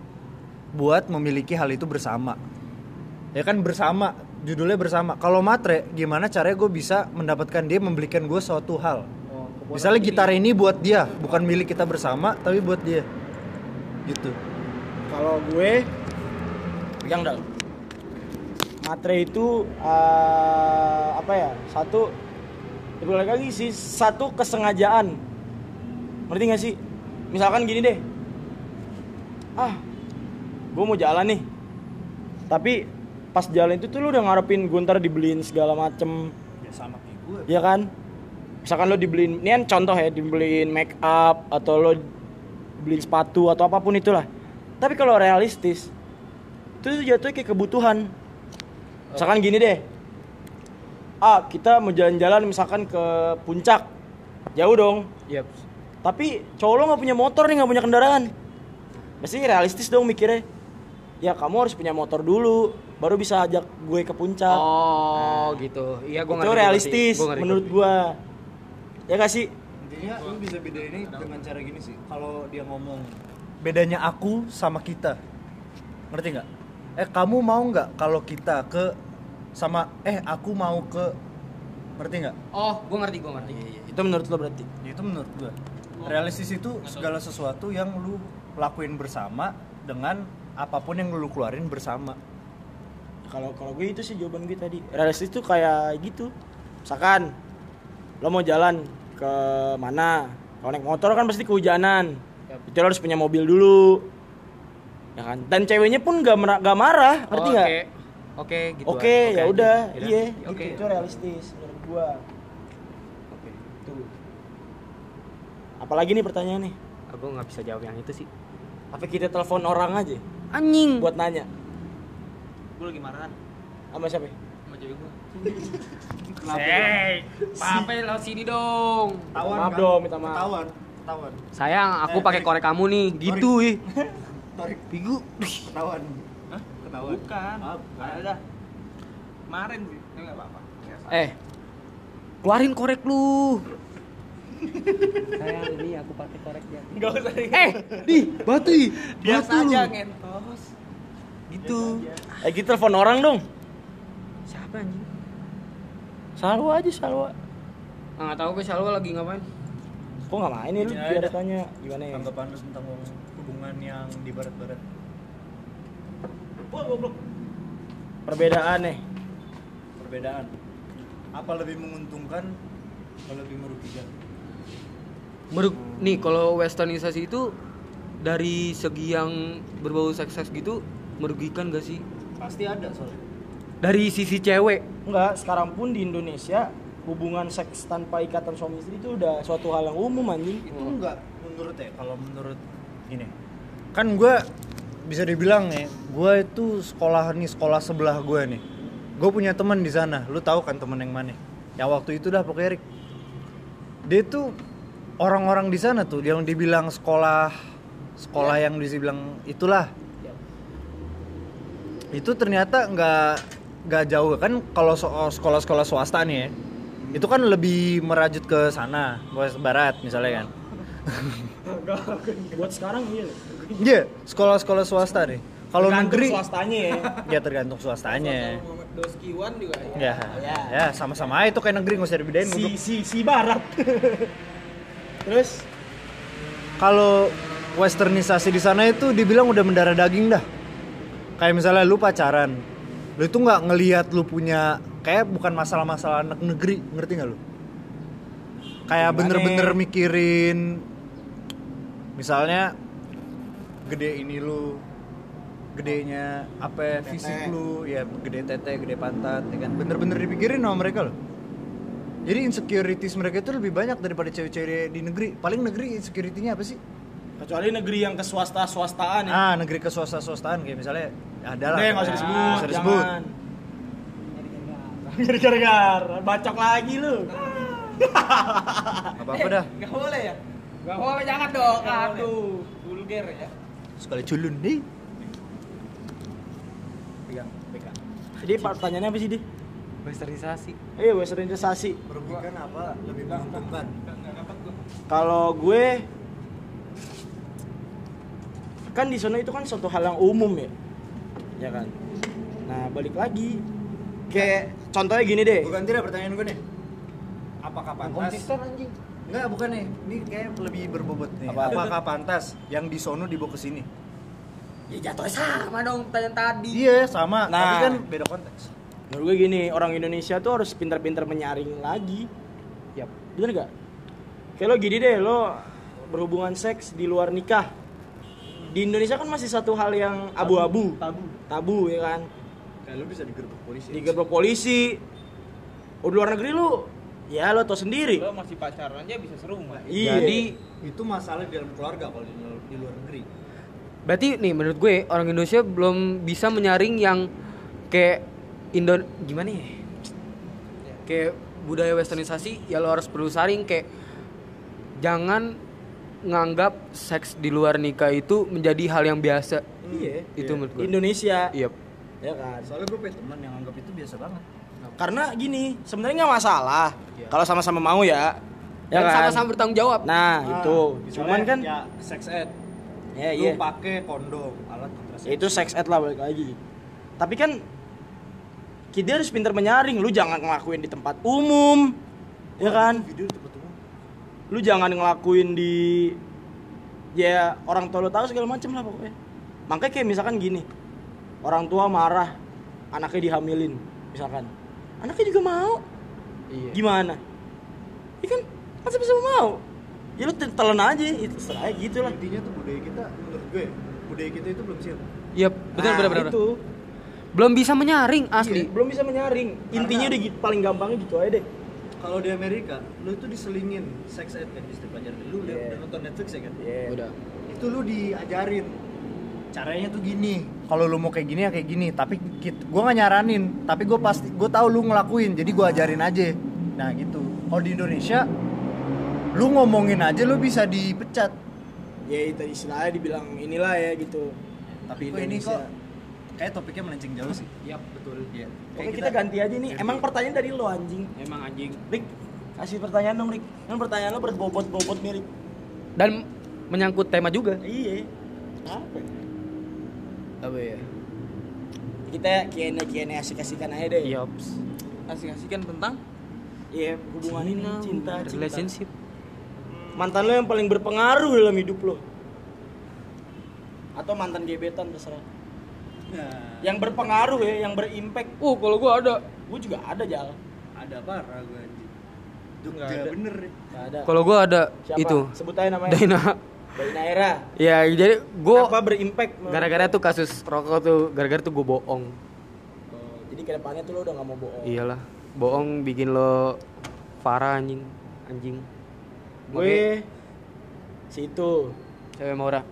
[SPEAKER 4] buat memiliki hal itu bersama. Ya kan bersama, judulnya bersama. Kalau matre, gimana caranya gue bisa mendapatkan dia membelikan gue suatu hal. Misalnya gitar ini buat dia, bukan milik kita bersama, tapi buat dia. Gitu.
[SPEAKER 2] Kalau gue pegang dal. Matre itu eh, apa ya? Satu lebih lagi lagi sih satu kesengajaan. Ngerti gak sih? Misalkan gini deh. Ah, gue mau jalan nih. Tapi pas jalan itu tuh lu udah ngarepin gue ntar dibeliin segala macem.
[SPEAKER 5] Ya sama kayak gue.
[SPEAKER 2] Iya kan? Misalkan lo dibeliin, ini kan contoh ya, dibeliin make up atau lo beliin sepatu atau apapun itulah. Tapi kalau realistis, itu tuh jatuhnya kayak kebutuhan. Misalkan gini deh, ah kita mau jalan-jalan misalkan ke puncak, jauh dong.
[SPEAKER 1] Yap.
[SPEAKER 2] Tapi cowok lo nggak punya motor nih, nggak punya kendaraan. Pasti realistis dong mikirnya. Ya kamu harus punya motor dulu, baru bisa ajak gue ke puncak
[SPEAKER 1] Oh, gitu. Iya, gue
[SPEAKER 2] Eh. itu realistis menurut gua ya gak sih
[SPEAKER 5] Intinya lu bisa bedain ini dengan cara gini sih. Kalau dia ngomong
[SPEAKER 4] bedanya aku sama kita ngerti nggak eh kamu mau nggak kalau kita ke sama eh aku mau ke ngerti nggak
[SPEAKER 1] Oh, gue ngerti, gue ngerti.
[SPEAKER 2] Iya, itu menurut lo berarti
[SPEAKER 4] Ya, itu menurut gua realistis itu segala sesuatu yang lu lakuin bersama dengan apapun yang lu keluarin bersama
[SPEAKER 2] kalau kalau gue itu sih jawaban gue tadi realistis tuh kayak gitu misalkan lo mau jalan ke mana kalau naik motor kan pasti kehujanan itu lo harus punya mobil dulu ya kan dan ceweknya pun gak, mera- gak marah ngerti nggak
[SPEAKER 1] Oke. Oke, gitu.
[SPEAKER 2] oke
[SPEAKER 1] aja.
[SPEAKER 2] ya udah
[SPEAKER 1] aja.
[SPEAKER 2] iya gitu,
[SPEAKER 1] Oke.
[SPEAKER 2] itu realistis menurut gua oke tuh apalagi nih pertanyaan nih
[SPEAKER 1] Aku nggak bisa jawab yang itu sih.
[SPEAKER 2] apa kita telepon orang aja
[SPEAKER 1] Anjing.
[SPEAKER 2] buat nanya
[SPEAKER 3] Gue lagi marahan
[SPEAKER 2] sama siapa
[SPEAKER 3] sama cewek gue.
[SPEAKER 1] Hey, apa lo sini dong?
[SPEAKER 5] tawan
[SPEAKER 2] maaf
[SPEAKER 5] kan?
[SPEAKER 2] dong, minta maaf.
[SPEAKER 5] Tawan, tawan.
[SPEAKER 1] Sayang, aku
[SPEAKER 5] Eh,
[SPEAKER 1] pakai
[SPEAKER 5] Rick.
[SPEAKER 1] korek kamu nih, gitu ih.
[SPEAKER 5] Tarik
[SPEAKER 1] Bigu.
[SPEAKER 5] ketahuan. Hah? Ketahuan.
[SPEAKER 3] Bukan.
[SPEAKER 5] Maaf.
[SPEAKER 3] Ada dah. Kemarin sih, tapi enggak apa-apa. Ya, salah.
[SPEAKER 1] Eh. Keluarin korek lu. (laughs) Sayang, ini aku pakai koreknya.
[SPEAKER 3] Enggak usah.
[SPEAKER 1] Eh, di, batu ih.
[SPEAKER 3] Biasa
[SPEAKER 1] Batu Eh, lu.
[SPEAKER 3] aja ngentos.
[SPEAKER 1] Gitu.
[SPEAKER 2] eh kita telepon orang dong
[SPEAKER 1] Siapa anjing?
[SPEAKER 2] salwa aja salwa
[SPEAKER 1] Ah, Nggak tahu gue Salwa lagi ngapain.
[SPEAKER 2] kok nggak main nih lu
[SPEAKER 4] Iya,
[SPEAKER 2] biar
[SPEAKER 4] iya.
[SPEAKER 2] tanya gimana ya
[SPEAKER 4] tanggapan lu tentang hubungan yang di barat-barat
[SPEAKER 3] Wah, goblok.
[SPEAKER 2] perbedaan nih
[SPEAKER 4] perbedaan apa lebih menguntungkan apa lebih merugikan
[SPEAKER 1] Meruk, nih kalau westernisasi itu dari segi yang berbau seks-seks gitu merugikan gak sih?
[SPEAKER 5] Pasti ada soalnya.
[SPEAKER 1] Dari sisi cewek.
[SPEAKER 2] enggak sekarang pun di Indonesia hubungan seks tanpa ikatan suami istri itu udah suatu hal yang umum anjing
[SPEAKER 1] (laughs)
[SPEAKER 5] Itu enggak menurut ya.
[SPEAKER 4] kalau menurut gini kan gue bisa dibilang nih gue itu sekolah nih sekolah sebelah gue nih gue punya teman di sana lu tahu kan teman yang mana yang waktu itu dah pokoknya Rick dia tuh orang-orang di sana tuh yang dibilang sekolah sekolah yang dibilang itulah itu ternyata nggak nggak jauh kan kalau so- sekolah-sekolah swasta nih ya, itu kan lebih merajut ke sana ke barat misalnya kan
[SPEAKER 2] buat sekarang iya
[SPEAKER 4] Iya, sekolah-sekolah swasta nih. Kalau
[SPEAKER 2] Tergantung
[SPEAKER 4] negeri
[SPEAKER 2] swastanya
[SPEAKER 4] (laughs)
[SPEAKER 2] ya.
[SPEAKER 4] ya tergantung
[SPEAKER 3] Eh.
[SPEAKER 4] swastanya.
[SPEAKER 3] Doskiwan juga ya.
[SPEAKER 4] Ya, ya sama-sama aja itu kayak negeri nggak usah
[SPEAKER 2] si
[SPEAKER 4] dibedain. goblok.
[SPEAKER 2] si si
[SPEAKER 4] (laughs)
[SPEAKER 2] barat. Terus
[SPEAKER 4] Kalau westernisasi di sana itu dibilang udah mendarah daging dah. Kayak misalnya lu pacaran, lu itu nggak ngelihat lu punya kayak bukan masalah-masalah anak negeri, ngerti nggak lu? Kayak
[SPEAKER 2] Gimana?
[SPEAKER 4] bener-bener mikirin, misalnya gede ini lu, gedenya apa ya, fisik lu, ya gede tete, gede pantat, ya kan? Bener-bener dipikirin sama mereka loh. Jadi insecurities mereka itu lebih banyak daripada cewek-cewek di negeri. Paling negeri insecurity-nya apa sih?
[SPEAKER 2] kecuali negeri yang ke swasta swastaan ya.
[SPEAKER 4] Ah, negeri ke swasta swastaan kayak misalnya ada lah.
[SPEAKER 2] Udah, nggak usah disebut,
[SPEAKER 4] Nggak usah disebut.
[SPEAKER 2] jangan. (laughs) Jadi gara-gara, bacok lagi lu.
[SPEAKER 4] Apa apa
[SPEAKER 2] Eh,
[SPEAKER 4] dah.
[SPEAKER 3] Gak boleh ya?
[SPEAKER 6] Oh, jangan
[SPEAKER 1] Eh,
[SPEAKER 6] dong. Aduh.
[SPEAKER 3] Aduh, vulgar ya.
[SPEAKER 4] Sekali culun nih.
[SPEAKER 2] Jadi pertanyaannya apa sih, Di?
[SPEAKER 1] Westernisasi.
[SPEAKER 2] Iya, westernisasi.
[SPEAKER 4] Merugikan apa? Lebih menguntungkan.
[SPEAKER 2] Kalau gue kan di sana itu kan suatu hal yang umum ya. Ya kan. Nah, balik lagi. Kayak contohnya gini deh.
[SPEAKER 4] Bukan tidak pertanyaan gue nih. Apakah pantas? Enggak, bukan nih. Ini kayak lebih berbobot nih.
[SPEAKER 2] Apa?
[SPEAKER 4] Apakah pantas yang di sono dibawa ke sini?
[SPEAKER 6] Ya jatuhnya sama dong pertanyaan tadi.
[SPEAKER 4] Iya, sama. Tapi
[SPEAKER 2] Nah.
[SPEAKER 4] kan beda konteks.
[SPEAKER 2] Menurut gue gini, orang Indonesia tuh harus pintar-pintar menyaring lagi. Yap. Bener gak? Kayak lo gini deh, lo berhubungan seks di luar nikah. Di Indonesia kan masih satu hal yang abu-abu. Tabu. Tabu ya kan.
[SPEAKER 5] Kayak lu bisa digerbek polisi.
[SPEAKER 2] Digerbek polisi. Oh, di luar negeri lu, ya lo tau sendiri.
[SPEAKER 3] Lo masih pacaran aja bisa serumah.
[SPEAKER 2] Iya.
[SPEAKER 1] Jadi
[SPEAKER 5] Itu masalah di dalam keluarga kalau di, di luar negeri.
[SPEAKER 1] berarti nih menurut gue orang Indonesia belum bisa menyaring yang kayak Indo gimana ya? Kayak budaya westernisasi ya lo harus perlu saring kayak jangan nganggap seks di luar nikah itu menjadi hal yang biasa.
[SPEAKER 2] iya.
[SPEAKER 1] Itu menurut
[SPEAKER 2] Di
[SPEAKER 1] gue.
[SPEAKER 2] Indonesia.
[SPEAKER 1] Iya.
[SPEAKER 2] Ya kan.
[SPEAKER 5] Soalnya gue punya teman yang anggap itu biasa banget.
[SPEAKER 2] Karena gini, sebenarnya nggak masalah. Kalau sama-sama mau ya. Ya
[SPEAKER 1] Dan
[SPEAKER 2] kan.
[SPEAKER 1] sama-sama bertanggung jawab.
[SPEAKER 4] Ah,
[SPEAKER 2] Nah, itu. Cuman kan
[SPEAKER 5] ya sex ed.
[SPEAKER 2] ya
[SPEAKER 5] Lu
[SPEAKER 2] iya.
[SPEAKER 5] pakai kondom, alat kontrasepsi.
[SPEAKER 2] Ya, itu sex ed lah balik lagi tapi kan kita harus pintar menyaring lu jangan ngelakuin di tempat umum ya kan
[SPEAKER 5] Video itu betul.
[SPEAKER 2] lu jangan ngelakuin di ya orang tua lu tahu segala macem lah pokoknya makanya kayak misalkan gini orang tua marah anaknya dihamilin misalkan anaknya juga mau
[SPEAKER 1] Iya.
[SPEAKER 2] gimana ya kan masa bisa mau ya lu telan aja itu serah gitu lah
[SPEAKER 5] Intinya tuh budaya kita menurut gue budaya kita itu belum siap.
[SPEAKER 1] Iya, betul
[SPEAKER 2] Nah,
[SPEAKER 1] benar benar.
[SPEAKER 2] itu.
[SPEAKER 1] Belum bisa menyaring
[SPEAKER 2] Iya,
[SPEAKER 1] asli.
[SPEAKER 2] belum bisa menyaring intinya udah gitu, paling gampangnya gitu aja deh
[SPEAKER 5] Kalau di Amerika, lu itu diselingin sex ed kan di setiap pelajaran. Lu udah-
[SPEAKER 2] Iya.
[SPEAKER 5] udah nonton Netflix ya kan?
[SPEAKER 1] Udah.
[SPEAKER 5] Itu lu diajarin caranya tuh gini.
[SPEAKER 4] kalau lu mau kayak gini ya kayak gini tapi kit- gua nggak nyaranin tapi gue pasti gue tahu lu ngelakuin jadi gua ajarin aja nah gitu kalau di Indonesia lu ngomongin aja lu bisa dipecat
[SPEAKER 2] ya itu istilahnya dibilang inilah ya gitu
[SPEAKER 5] Tapi
[SPEAKER 2] Di
[SPEAKER 5] kok ini
[SPEAKER 2] Indonesia.
[SPEAKER 5] kok kayak topiknya melenceng jauh sih. Iya, betul. Iya.
[SPEAKER 2] Oke kita,
[SPEAKER 4] kan-
[SPEAKER 2] ganti aja nih emang pertanyaan dari lo anjing
[SPEAKER 1] Emang anjing.
[SPEAKER 2] Rick kasih pertanyaan dong Rick kan pertanyaan lo berbobot-bobot nih Rick
[SPEAKER 1] Dan menyangkut tema juga.
[SPEAKER 2] iya apa ya?
[SPEAKER 1] Apa ya?
[SPEAKER 2] kita kian kian asik-asikan aja deh
[SPEAKER 1] Yops.
[SPEAKER 3] Asik-asikan tentang
[SPEAKER 2] Iya, hubungan ini cinta, cinta.
[SPEAKER 1] relationship.
[SPEAKER 2] mantan lo yang paling berpengaruh dalam hidup lo atau mantan gebetan terserah
[SPEAKER 5] Nah,
[SPEAKER 2] yang berpengaruh ya yang berimpact
[SPEAKER 6] Uh, kalau gua ada.
[SPEAKER 2] gue juga ada jal
[SPEAKER 5] ada parah gue anjing. Itu
[SPEAKER 2] Nggak ada.
[SPEAKER 5] bener. ya.
[SPEAKER 2] Gak ada
[SPEAKER 1] Kalau gua ada
[SPEAKER 2] Siapa?
[SPEAKER 1] itu.
[SPEAKER 2] sebut aja namanya
[SPEAKER 1] Dina.
[SPEAKER 2] Dina Era
[SPEAKER 1] (laughs) ya jadi
[SPEAKER 2] Kenapa
[SPEAKER 1] gua
[SPEAKER 2] berimpact menurut
[SPEAKER 1] gara-gara tuh kasus rokok tuh gara-gara tuh gua bohong.
[SPEAKER 2] Oh, Jadi kedepannya tuh lo udah gak mau bohong.
[SPEAKER 1] Iyalah, bohong bikin lo parah anjing, anjing. ya,
[SPEAKER 2] Gue si itu
[SPEAKER 1] Cewek Maura.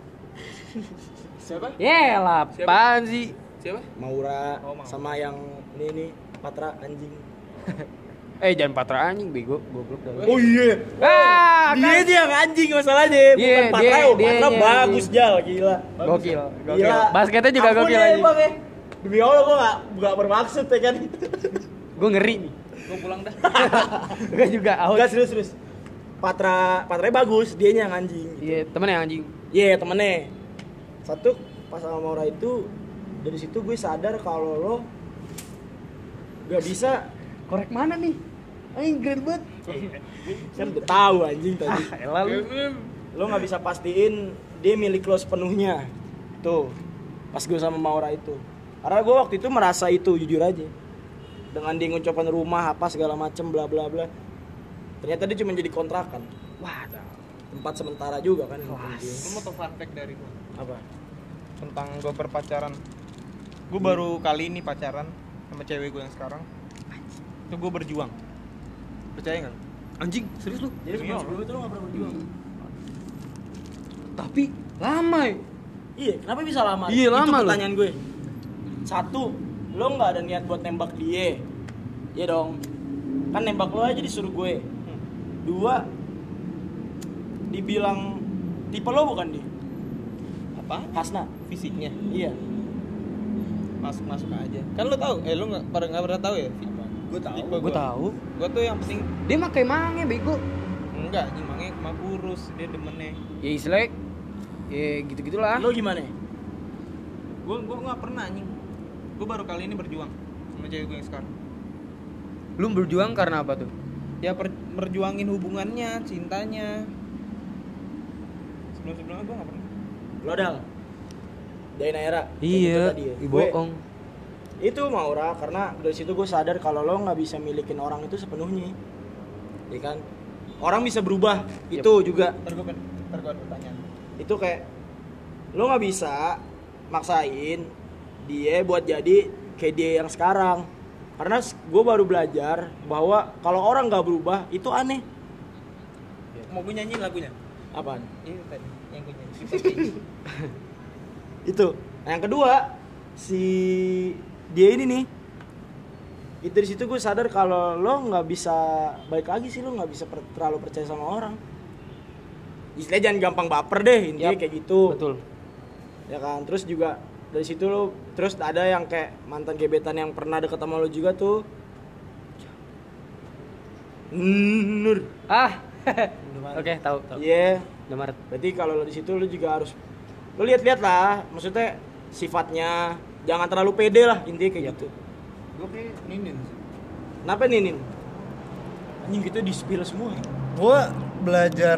[SPEAKER 3] siapa?
[SPEAKER 1] Yelah,
[SPEAKER 3] Siapa?
[SPEAKER 1] apaan sih?
[SPEAKER 3] Siapa?
[SPEAKER 2] Maura
[SPEAKER 3] Oh, Maura.
[SPEAKER 2] sama yang ini nih Patra anjing.
[SPEAKER 1] Eh jangan patra anjing bego, goblok dah.
[SPEAKER 3] Oh
[SPEAKER 5] iya.
[SPEAKER 1] Ah,
[SPEAKER 2] dia
[SPEAKER 1] kan.
[SPEAKER 2] dia yang anjing masalahnya,
[SPEAKER 1] Iya,
[SPEAKER 2] bukan Patra.
[SPEAKER 1] dia-
[SPEAKER 2] oh,
[SPEAKER 1] dia-
[SPEAKER 2] Patra
[SPEAKER 1] dia-
[SPEAKER 2] bagus jal gila. Iya.
[SPEAKER 1] Gokil, gokil. Basketnya juga
[SPEAKER 2] Ampun
[SPEAKER 1] gokil
[SPEAKER 2] ya,
[SPEAKER 1] anjing.
[SPEAKER 2] Bang, ya. Demi Allah gue gak, gak bermaksud ya kan.
[SPEAKER 1] Gue ngeri nih.
[SPEAKER 3] Gue pulang (laughs) dah.
[SPEAKER 1] Gue juga out.
[SPEAKER 2] Enggak serius serius. Patra Patranya bagus, dianya yang anjing.
[SPEAKER 1] ya, Iya, temen yang anjing.
[SPEAKER 2] Iya temennya Satu pas sama Maura itu dari situ gue sadar kalau lo gak bisa
[SPEAKER 4] korek mana nih anjing keren banget
[SPEAKER 2] kan udah tahu anjing tadi
[SPEAKER 4] ah elah lu
[SPEAKER 2] lo nggak bisa pastiin dia milik lo sepenuhnya tuh pas gue sama Maura itu karena gue waktu itu merasa itu jujur aja dengan dia ngucapin rumah apa segala macem bla bla bla ternyata dia cuma jadi kontrakan wah dah. tempat sementara juga kan
[SPEAKER 3] Lu mau tau fun fact dari gua
[SPEAKER 2] apa
[SPEAKER 3] tentang gua berpacaran. Gua baru kali ini pacaran sama cewek gua yang sekarang. Itu gua berjuang. Percaya nggak?
[SPEAKER 1] Anjing, serius lu?
[SPEAKER 2] jadi sebelum sebelum itu lo nggak pernah berjuang
[SPEAKER 1] Tapi lama ya.
[SPEAKER 2] iya kenapa bisa lama
[SPEAKER 1] Iya, lama
[SPEAKER 2] itu
[SPEAKER 1] lo.
[SPEAKER 2] pertanyaan gue satu lo nggak ada niat buat nembak dia ya dong kan nembak lo aja disuruh gue dua dibilang tipe lo bukan di
[SPEAKER 3] Apa?
[SPEAKER 2] Hasna
[SPEAKER 3] Fisiknya
[SPEAKER 2] iya
[SPEAKER 3] masuk-masuk aja. Kan lu tahu? Eh lu nggak pada nggak pernah tahu ya?
[SPEAKER 5] Gua tahu.
[SPEAKER 3] Tipe
[SPEAKER 1] Gue tahu.
[SPEAKER 3] Gua tuh yang penting
[SPEAKER 1] Dia mah kayak mange bego.
[SPEAKER 3] enggak nyimangnya cuma kurus dia demennya.
[SPEAKER 1] Ya istilahnya ya gitu-gitulah.
[SPEAKER 2] lo gimana
[SPEAKER 3] Gua gua nggak pernah anjing. Gua baru kali ini berjuang sama cewek gua yang sekarang.
[SPEAKER 1] Lu berjuang karena apa tuh?
[SPEAKER 3] ya per, merjuangin hubungannya cintanya sebelum sebelumnya gue nggak pernah
[SPEAKER 2] lo dal dari Naira
[SPEAKER 1] Iya,
[SPEAKER 2] Itu tadi ya.
[SPEAKER 1] ih,
[SPEAKER 2] Gue-
[SPEAKER 1] bohong.
[SPEAKER 2] itu Maura karena dari situ gue sadar kalau lo nggak bisa milikin orang itu sepenuhnya ya kan orang bisa berubah itu juga
[SPEAKER 3] ntar gue ntar gue ada pertanyaan
[SPEAKER 2] itu kayak lo nggak bisa maksain dia buat jadi kayak dia yang sekarang karena gue baru belajar bahwa kalau orang nggak berubah itu aneh
[SPEAKER 3] mau gue nyanyiin lagunya
[SPEAKER 2] apaan
[SPEAKER 3] itu Iya, tadi yang gue nyanyi
[SPEAKER 2] itu nah, yang kedua si dia ini nih itu di situ gue sadar kalau lo nggak bisa baik lagi sih lo nggak bisa per- terlalu percaya sama orang istilahnya jangan gampang baper deh intinya
[SPEAKER 1] Yap,
[SPEAKER 2] kayak gitu
[SPEAKER 1] Betul.
[SPEAKER 2] ya kan terus juga dari situ lo terus ada yang kayak mantan gebetan yang pernah deket sama lo juga tuh Hmm, Nur
[SPEAKER 1] Ah. Oke, tahu, tahu.
[SPEAKER 2] iya
[SPEAKER 1] Udah Maret.
[SPEAKER 2] Berarti kalau lo di situ lo juga harus lo lihat-lihat lah, maksudnya sifatnya jangan terlalu pede lah intinya kayak gitu.
[SPEAKER 5] Gue kayak ninin sih.
[SPEAKER 2] Kenapa nih Nin? Anjing kita di spill semua. ya.
[SPEAKER 4] gua belajar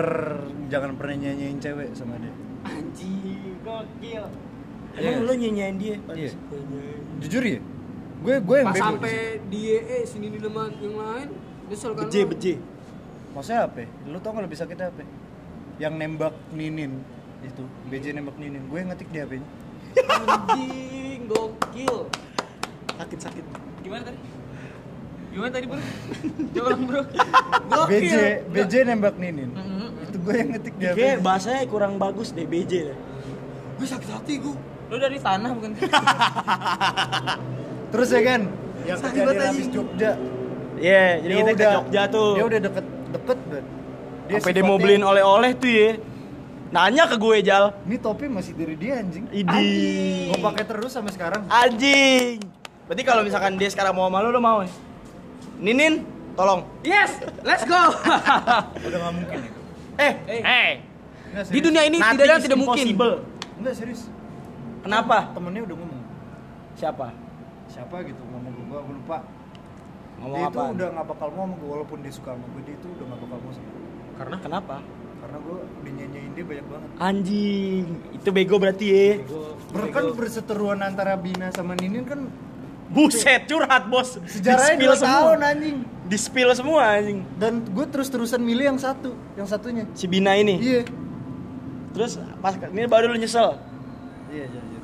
[SPEAKER 4] jangan pernah nyanyiin cewek sama dia
[SPEAKER 2] Anjing, gokil.
[SPEAKER 4] Iya.
[SPEAKER 2] Emang lo nyanyain dia?
[SPEAKER 4] Iya. jujur ya gue gue yang
[SPEAKER 6] Pas
[SPEAKER 4] bego
[SPEAKER 6] sampai dia eh sini di teman yang lain, nyesel kan.
[SPEAKER 2] Beje,
[SPEAKER 6] lu?
[SPEAKER 2] beje.
[SPEAKER 4] maksudnya apa ya? lu tau nggak lebih sakit apa ya? yang nembak ninin itu BJ nembak ninin gue ngetik di HP-nya
[SPEAKER 6] Anjing, gokil.
[SPEAKER 2] Sakit-sakit.
[SPEAKER 3] gimana tadi gimana tadi bro coba ulang bro
[SPEAKER 4] BJ BJ nembak ninin
[SPEAKER 2] Mm-hmm,
[SPEAKER 4] itu gue yang ngetik di HP
[SPEAKER 2] Kayak bahasanya kurang bagus deh BJ deh.
[SPEAKER 3] gue sakit hati gue lu dari tanah bukan (laughs)
[SPEAKER 4] terus ya kan yang
[SPEAKER 3] Sakit
[SPEAKER 4] kejadian
[SPEAKER 3] banget,
[SPEAKER 4] habis
[SPEAKER 3] anjing.
[SPEAKER 4] Jogja
[SPEAKER 2] Iya, jadi
[SPEAKER 4] Dia
[SPEAKER 2] kita ke
[SPEAKER 4] udah-
[SPEAKER 2] Jogja tuh.
[SPEAKER 4] dia udah deket deket banget
[SPEAKER 2] Sampai dia mau beliin oleh-oleh tuh ya. Nanya ke gue, Jal.
[SPEAKER 4] ini topi masih dari dia anjing
[SPEAKER 2] Idi.
[SPEAKER 4] gue pakai terus sampai sekarang
[SPEAKER 2] Anjing. Berarti kalau misalkan dia sekarang mau sama lu, lu mau nih? Ninin, tolong.
[SPEAKER 6] Yes, let's
[SPEAKER 1] (laughs)
[SPEAKER 6] go.
[SPEAKER 4] udah nggak mungkin itu
[SPEAKER 2] Eh,
[SPEAKER 4] Nggak,
[SPEAKER 1] Di
[SPEAKER 4] serius.
[SPEAKER 1] dunia ini tidak ada yang
[SPEAKER 2] is
[SPEAKER 1] tidak mungkin.
[SPEAKER 2] impossible.
[SPEAKER 4] nggak serius
[SPEAKER 2] Kenapa?
[SPEAKER 4] temennya udah ngomong
[SPEAKER 2] Siapa?
[SPEAKER 4] siapa gitu ngomong ke gue gue lupa
[SPEAKER 2] Ngomong
[SPEAKER 4] dia
[SPEAKER 2] apa?
[SPEAKER 4] itu udah nggak bakal mau sama gue walaupun dia suka sama gue dia itu udah nggak bakal mau sama gue.
[SPEAKER 2] Karena kenapa?
[SPEAKER 4] karena gue udah nyanyiin dia banyak banget
[SPEAKER 2] Anjing, itu bego berarti ya.
[SPEAKER 4] Ber- kan berseteruan antara Bina sama Ninin kan
[SPEAKER 2] Buset, curhat bos.
[SPEAKER 4] sejarahnya
[SPEAKER 2] Di-spill
[SPEAKER 4] dua tahun anjing
[SPEAKER 2] Di spill semua anjing.
[SPEAKER 4] dan gue terus-terusan milih yang satu yang satunya
[SPEAKER 2] Si Bina ini.
[SPEAKER 4] iya
[SPEAKER 2] Terus pas ini baru lu nyesel.
[SPEAKER 4] iya jujur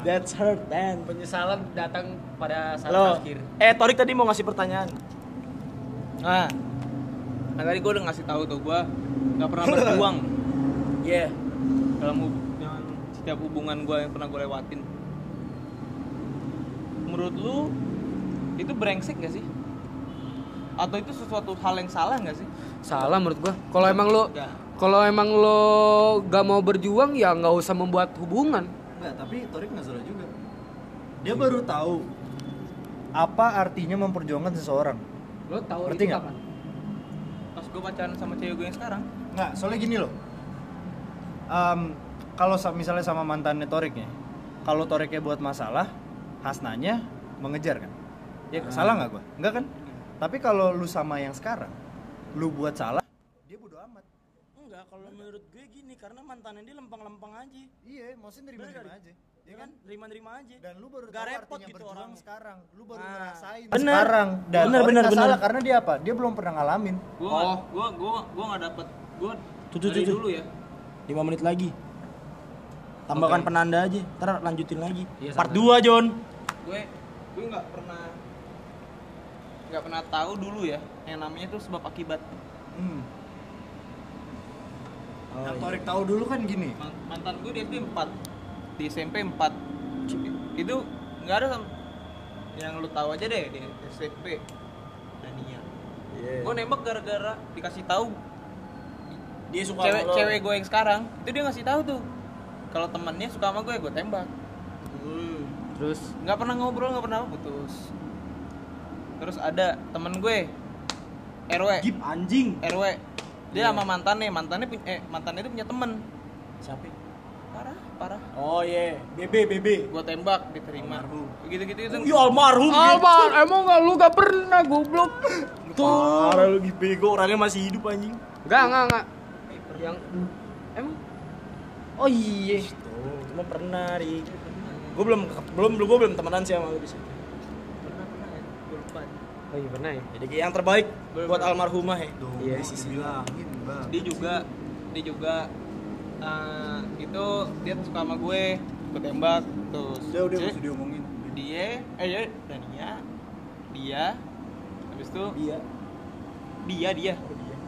[SPEAKER 2] That's hurt man.
[SPEAKER 6] Penyesalan datang pada saat
[SPEAKER 2] Lo,
[SPEAKER 6] terakhir.
[SPEAKER 2] eh Torik tadi mau ngasih pertanyaan.
[SPEAKER 3] ah nah, tadi gue udah ngasih tahu tuh gue nggak pernah
[SPEAKER 2] (laughs)
[SPEAKER 3] berjuang
[SPEAKER 2] Iya.
[SPEAKER 3] dalam hub- dengan setiap hubungan gue yang pernah gue lewatin menurut lu itu brengsek gak sih atau itu sesuatu hal yang salah gak sih
[SPEAKER 1] Salah menurut gua. Kalau emang
[SPEAKER 2] Oh.
[SPEAKER 1] lo
[SPEAKER 3] Enggak.
[SPEAKER 1] kalau emang lo gak mau berjuang ya nggak usah membuat hubungan.
[SPEAKER 4] Enggak, tapi Torik nggak salah juga. Dia baru tahu apa artinya memperjuangkan seseorang.
[SPEAKER 6] Lo tahu
[SPEAKER 4] Ngerti
[SPEAKER 6] itu
[SPEAKER 4] nggak?
[SPEAKER 6] kapan?
[SPEAKER 3] pas gue pacaran sama cewek gue yang sekarang
[SPEAKER 4] Enggak, soalnya gini loh. Em, kalau sa- misalnya sama mantannya Torik ya, kalau Toreknya buat masalah Hasnanya mengejar kan ya salah nggak gua nggak kan tapi kalau lu sama yang sekarang lu buat salah dia bodo amat
[SPEAKER 2] Enggak, kalau menurut gue gini karena mantannya dia lempeng-lempeng aja.
[SPEAKER 4] iya maksudnya nerima nerima aja
[SPEAKER 2] Ya kan, nerima-nerima aja.
[SPEAKER 4] dan lu baru
[SPEAKER 2] Gak
[SPEAKER 4] tahu
[SPEAKER 2] repot
[SPEAKER 4] artinya
[SPEAKER 2] gitu
[SPEAKER 4] berjuang
[SPEAKER 2] orangnya.
[SPEAKER 4] sekarang lu baru
[SPEAKER 2] Nah.
[SPEAKER 4] ngerasain
[SPEAKER 2] Bener.
[SPEAKER 4] sekarang dan
[SPEAKER 2] Bener,
[SPEAKER 4] orang
[SPEAKER 2] bener,
[SPEAKER 4] nggak
[SPEAKER 2] bener.
[SPEAKER 4] salah karena dia apa dia belum pernah ngalamin
[SPEAKER 3] Gua
[SPEAKER 2] Oh.
[SPEAKER 3] nggak- gua gua gua nggak dapet gua
[SPEAKER 2] Tuh, tuh,
[SPEAKER 3] dari
[SPEAKER 2] tuh, tuh.
[SPEAKER 3] dulu ya.
[SPEAKER 2] 5 menit lagi. Tambahkan penanda aja, ntar lanjutin lagi.
[SPEAKER 1] Iya,
[SPEAKER 2] Part
[SPEAKER 1] sama.
[SPEAKER 2] 2, John.
[SPEAKER 3] gue gue nggak pernah nggak pernah tahu dulu ya yang namanya tuh sebab akibat
[SPEAKER 4] hmm. yang Torek tahu dulu kan gini
[SPEAKER 3] Man- mantan gue di SD 4 di SMP 4 itu nggak ada sam- yang lu tahu aja deh di SMP Dania gue nembak gara-gara dikasih tahu
[SPEAKER 2] Dia suka
[SPEAKER 3] cewek
[SPEAKER 2] sama lo.
[SPEAKER 3] cewek gue yang sekarang itu dia ngasih tahu tuh kalau temannya suka sama gue gue tembak
[SPEAKER 2] Hmm.
[SPEAKER 1] terus
[SPEAKER 3] nggak pernah ngobrol nggak pernah apa, putus terus ada temen gue RW
[SPEAKER 2] Gip anjing.
[SPEAKER 3] RW
[SPEAKER 4] Iya.
[SPEAKER 3] dia sama mantannya mantannya punya eh mantannya itu punya temen
[SPEAKER 2] Siapa?
[SPEAKER 3] parah parah
[SPEAKER 2] Oh iya, BB BB.
[SPEAKER 3] gue tembak diterima gitu gitu itu
[SPEAKER 4] Oh,
[SPEAKER 2] Iya almarhum.
[SPEAKER 1] Alman, emang gak lu gak pernah goblok
[SPEAKER 2] Tuh. Parah lu Gip bego, orangnya masih hidup anjing.
[SPEAKER 1] Gak, gak, gak Yang Emang Oh iya
[SPEAKER 2] Tuh, cuma pernah di Gue belum belum belum gue belum temenan sih sama lu di situ.
[SPEAKER 3] Gua lupa.
[SPEAKER 1] Oh iya pernah ya
[SPEAKER 2] Jadi yang terbaik buat almarhumah ya.
[SPEAKER 1] Iya.
[SPEAKER 4] iya.
[SPEAKER 3] dia juga dia juga eh, itu dia suka sama gue gue tembak terus
[SPEAKER 4] dia udah
[SPEAKER 2] Eh?
[SPEAKER 3] dia-
[SPEAKER 4] masih diomongin
[SPEAKER 3] dia eh ya Dania dia habis itu
[SPEAKER 2] Iya.
[SPEAKER 3] dia dia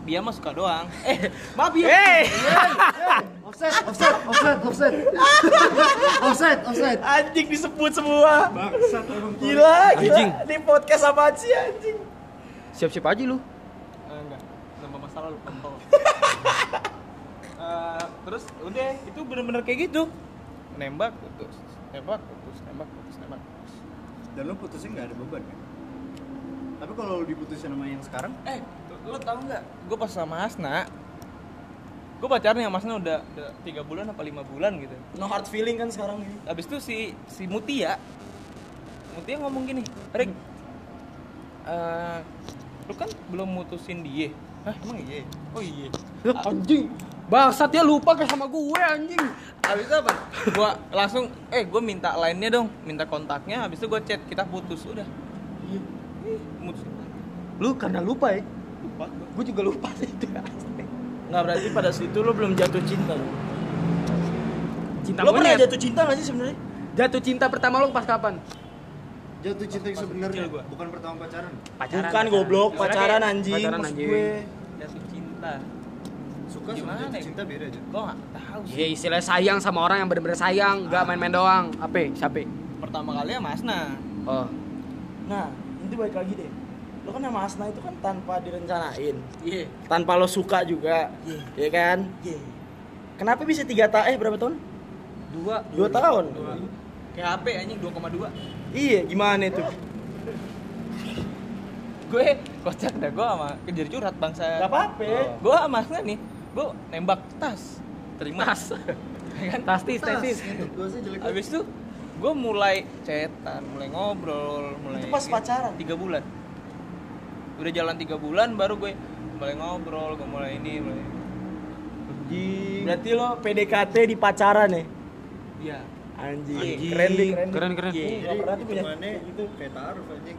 [SPEAKER 3] dia mah suka doang eh maaf ya
[SPEAKER 1] Hey!
[SPEAKER 5] offset offset offset offset offset offset
[SPEAKER 2] Anjing disebut semua.
[SPEAKER 5] bangsat emang Torek.
[SPEAKER 2] Gila, gila.
[SPEAKER 1] Anjing.
[SPEAKER 2] Ini podcast apaan sih anjing?
[SPEAKER 1] Siap-siap aja lu
[SPEAKER 3] Eh, enggak nambah masalah lu kontol Eh, terus udah itu bener-bener kayak gitu nembak putus nembak putus nembak putus nembak putus.
[SPEAKER 4] dan lu putusnya nggak ada beban kan tapi kalau lu diputusin sama yang sekarang
[SPEAKER 3] eh lo tau nggak gue pas sama Hasna gue pacarnya sama Hasna udah, udah tiga bulan apa lima bulan gitu
[SPEAKER 2] No hard feeling kan sekarang ini.
[SPEAKER 3] abis itu si si Mutia Mutia ngomong gini Rick eh, lu kan belum mutusin dia Hah, emang
[SPEAKER 2] ya?
[SPEAKER 3] iya? Oh iya.
[SPEAKER 1] Lah, Anjing Bangsat dia lupa kayak sama gue anjing
[SPEAKER 3] Habis itu apa? gua langsung eh gua minta line-nya dong, minta kontaknya, habis itu gua chat, kita putus udah. Ih, Putus.
[SPEAKER 1] Lu karena lupa ya Gue juga
[SPEAKER 2] (laughs)
[SPEAKER 1] lupa sih itu
[SPEAKER 2] Nggak berarti pada situ lo belum jatuh cinta lo.
[SPEAKER 1] Cinta
[SPEAKER 2] Lo pernah
[SPEAKER 1] monyet
[SPEAKER 2] jatuh cinta nggak sih sebenarnya?
[SPEAKER 1] Jatuh cinta pertama lu pas kapan?
[SPEAKER 5] jatuh cinta yang sebenarnya
[SPEAKER 3] kecil gua.
[SPEAKER 5] bukan pertama pacaran
[SPEAKER 2] Bukan goblok, pacaran
[SPEAKER 1] Pacaran,
[SPEAKER 2] anjing.
[SPEAKER 1] pacaran,
[SPEAKER 2] maksud
[SPEAKER 1] anjing.
[SPEAKER 2] gue.
[SPEAKER 3] Jatuh cinta.
[SPEAKER 5] suka sama
[SPEAKER 3] Gimana
[SPEAKER 5] jatuh
[SPEAKER 3] ya?
[SPEAKER 5] cinta beda aja
[SPEAKER 3] Gua nggak tahu sih.
[SPEAKER 1] Ya istilah sayang sama orang yang bener-bener sayang
[SPEAKER 2] Ah.
[SPEAKER 1] Gak main-main doang Apa? Siapa?
[SPEAKER 3] Pertama kali ya Mas Nah.
[SPEAKER 1] Oh
[SPEAKER 2] Nah, itu balik lagi deh. Lo kan sama Asna itu kan tanpa direncanain,
[SPEAKER 3] Iya.
[SPEAKER 2] tanpa lo suka juga, ya kan? Kenapa bisa tiga ta eh berapa tahun?
[SPEAKER 1] Dua
[SPEAKER 2] Dua tahun.
[SPEAKER 3] Kayak HP anjing 2,2.
[SPEAKER 2] Iya, gimana itu?
[SPEAKER 3] Gue kocak dah gua sama kejar curhat bangsa.
[SPEAKER 2] Gak apa-apa.
[SPEAKER 3] Gua sama Mas Nah nih, gua nembak tas. Terima. Tas. (laughs) kan?
[SPEAKER 1] Tastis, tastis
[SPEAKER 5] gue Gitu, sih jelek
[SPEAKER 3] Habis itu gua mulai chatan, mulai ngobrol, mulai gitu.
[SPEAKER 2] Itu pas pacaran.
[SPEAKER 3] tiga bulan udah jalan tiga bulan baru gue mulai ngobrol gue mulai ini mulai
[SPEAKER 2] Berarti lo PDKT di pacaran ya?
[SPEAKER 3] iya
[SPEAKER 2] Anjing.
[SPEAKER 3] Anjing.
[SPEAKER 2] Keren deh, keren. deh.
[SPEAKER 1] Keren, keren.
[SPEAKER 2] Iya, gak
[SPEAKER 5] jadi
[SPEAKER 2] pernah tuh punya.
[SPEAKER 5] hitungannya itu kayak taruh anjing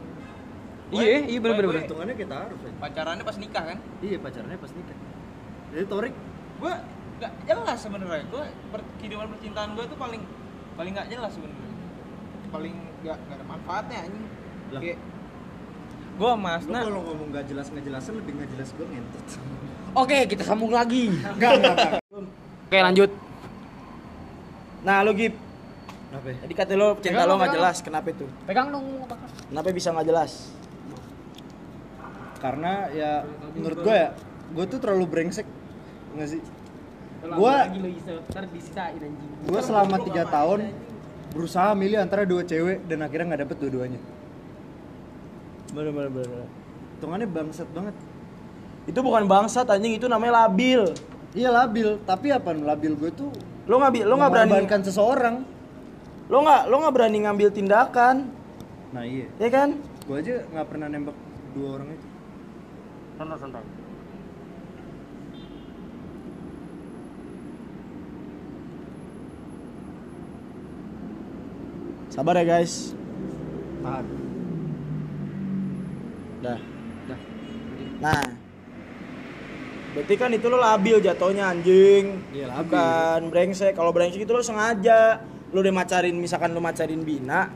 [SPEAKER 1] Iya, iya bener-bener
[SPEAKER 5] hitungannya kayak taruh anjing
[SPEAKER 3] pacarannya pas nikah kan
[SPEAKER 5] iya pacarnya pas nikah jadi Torik
[SPEAKER 3] gue nggak jelas sebenarnya gue per- kehidupan percintaan gue tuh paling paling nggak jelas sebenarnya paling nggak nggak ada manfaatnya anjing
[SPEAKER 5] Lah.
[SPEAKER 3] kayak gue mas
[SPEAKER 5] lu
[SPEAKER 3] nah
[SPEAKER 5] kalau ngomong gak jelas nggak jelasin lebih nggak jelas gue (laughs) ngentot
[SPEAKER 1] Oke, kita sambung lagi
[SPEAKER 5] enggak enggak enggak
[SPEAKER 1] Oke lanjut
[SPEAKER 2] Nah, lo Gib,
[SPEAKER 5] apa ya?
[SPEAKER 2] tadi kata lo cinta
[SPEAKER 1] Pegang,
[SPEAKER 2] lo nggak
[SPEAKER 1] pegang.
[SPEAKER 2] jelas, kenapa itu?
[SPEAKER 1] Pegang dong
[SPEAKER 2] Kenapa bisa nggak jelas?
[SPEAKER 4] karena ya menurut gue ya gue tuh terlalu brengsek nggak sih gue gue selama tiga tahun berusaha milih antara dua cewek dan akhirnya nggak dapet dua-duanya
[SPEAKER 2] Bener, bener, bener.
[SPEAKER 4] hitungannya bangsat banget
[SPEAKER 2] Itu bukan bangsat anjing, itu namanya labil.
[SPEAKER 4] iya labil tapi apa labil gue tuh
[SPEAKER 2] Lo nggak bi- lo nggak berani
[SPEAKER 4] mengorbankan seseorang
[SPEAKER 2] lo lo nggak lo nggak berani ngambil tindakan
[SPEAKER 7] nah iya
[SPEAKER 2] ya kan
[SPEAKER 7] gue aja nggak pernah nembak dua orang itu
[SPEAKER 8] Santai, santai.
[SPEAKER 2] sabar ya guys
[SPEAKER 4] tahan
[SPEAKER 2] dah nah berarti kan itu lo labil jatuhnya anjing
[SPEAKER 4] Iya, labil.
[SPEAKER 2] bukan brengsek kalau brengsek itu lo sengaja lo udah macarin misalkan lo macarin bina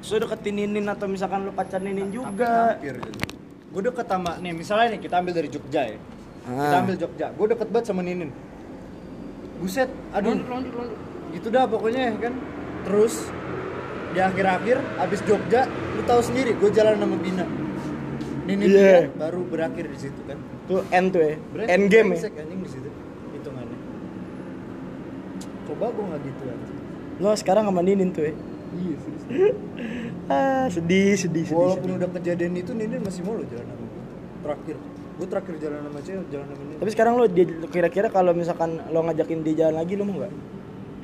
[SPEAKER 2] terus lo deketin Ninin atau misalkan lo pacar Ninin juga
[SPEAKER 7] hampir gitu.
[SPEAKER 4] gue deket sama nih misalnya nih kita ambil dari Jogja ya kita
[SPEAKER 2] Ah.
[SPEAKER 4] ambil Jogja gue deket banget sama Ninin buset aduh
[SPEAKER 3] Lanjut, lanjut, lanjut.
[SPEAKER 4] gitu dah pokoknya ya kan terus di akhir-akhir abis Jogja lu tahu sendiri gue jalan sama Bina Ninin
[SPEAKER 2] Iya.
[SPEAKER 4] Bina baru berakhir di situ kan
[SPEAKER 2] tuh end tuh ya
[SPEAKER 4] Brengsek,
[SPEAKER 2] end game ya
[SPEAKER 4] brengsek anjing di situ hitungannya coba gue nggak gitu anjing
[SPEAKER 2] lo sekarang sama Ninin tuh ya
[SPEAKER 4] iya serius
[SPEAKER 2] ah, sedih sedih sedih,
[SPEAKER 4] walaupun
[SPEAKER 2] sedih.
[SPEAKER 4] udah kejadian itu Ninin masih mau lo jalan sama gue terakhir gue terakhir jalan sama cewek jalan sama Ninin
[SPEAKER 2] tapi sekarang lo dia- kira-kira kalau misalkan lo ngajakin dia jalan lagi lo mau nggak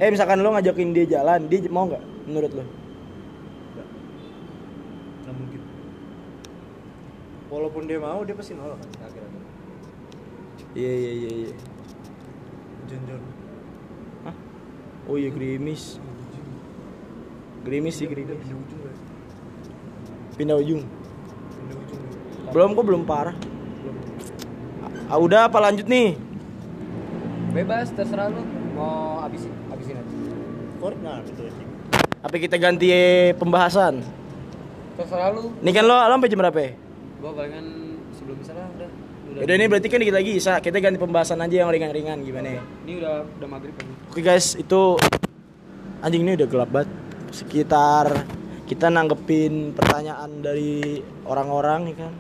[SPEAKER 2] eh misalkan lo ngajakin dia jalan dia mau nggak menurut lo
[SPEAKER 4] nggak mungkin walaupun dia mau dia pasti nolak kan akhir-akhir
[SPEAKER 2] iya iya iya iya
[SPEAKER 4] janjian
[SPEAKER 2] oh iya gerimis gerimis sih gerimis
[SPEAKER 4] di ujung guys
[SPEAKER 2] pindah ujung
[SPEAKER 4] di ujung
[SPEAKER 2] belum kok belum parah ah, udah apa lanjut nih
[SPEAKER 3] Bebas, terserah lu mau habisin, habisin aja.
[SPEAKER 4] Korban gitu ya.
[SPEAKER 2] apa kita ganti eh, pembahasan
[SPEAKER 3] Terserah lu,
[SPEAKER 2] ini kan lo lo sampai jam berapa ya?
[SPEAKER 3] gua palingan sebelum misalnya udah.
[SPEAKER 2] Udah ini berarti kan dikit lagi Isa, kita ganti pembahasan aja yang ringan-ringan gimana ya?
[SPEAKER 3] Ini udah udah maghrib kan.
[SPEAKER 2] Oke guys, itu anjing ini udah gelap banget. Sekitar kita nanggepin pertanyaan dari orang-orang ya kan.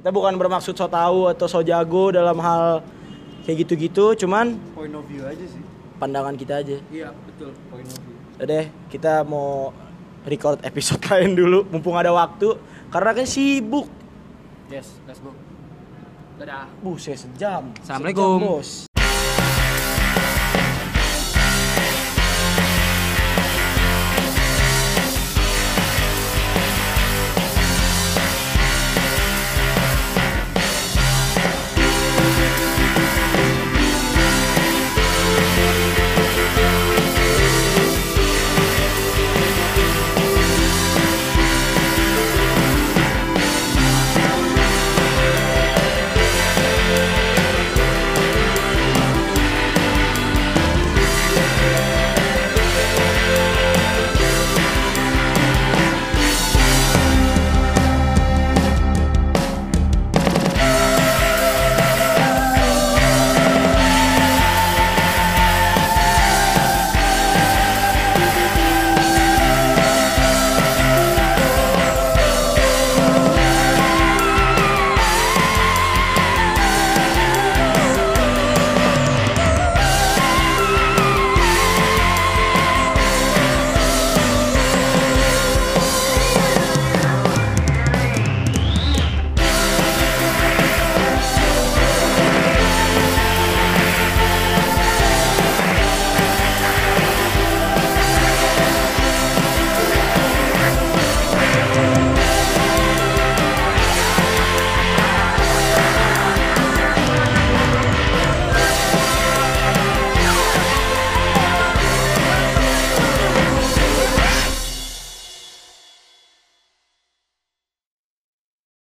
[SPEAKER 2] Kita bukan bermaksud so tahu atau so jago dalam hal kayak gitu-gitu, cuman
[SPEAKER 4] Point of view aja sih.
[SPEAKER 2] pandangan kita aja.
[SPEAKER 8] Iya, betul. Poin of view.
[SPEAKER 2] Udah deh, kita mau record episode (laughs) lain dulu mumpung ada waktu karena kan sibuk.
[SPEAKER 3] Yes, let's go. Dadah.
[SPEAKER 2] Buset sejam.
[SPEAKER 1] Assalamualaikum.
[SPEAKER 2] Sejam, bos.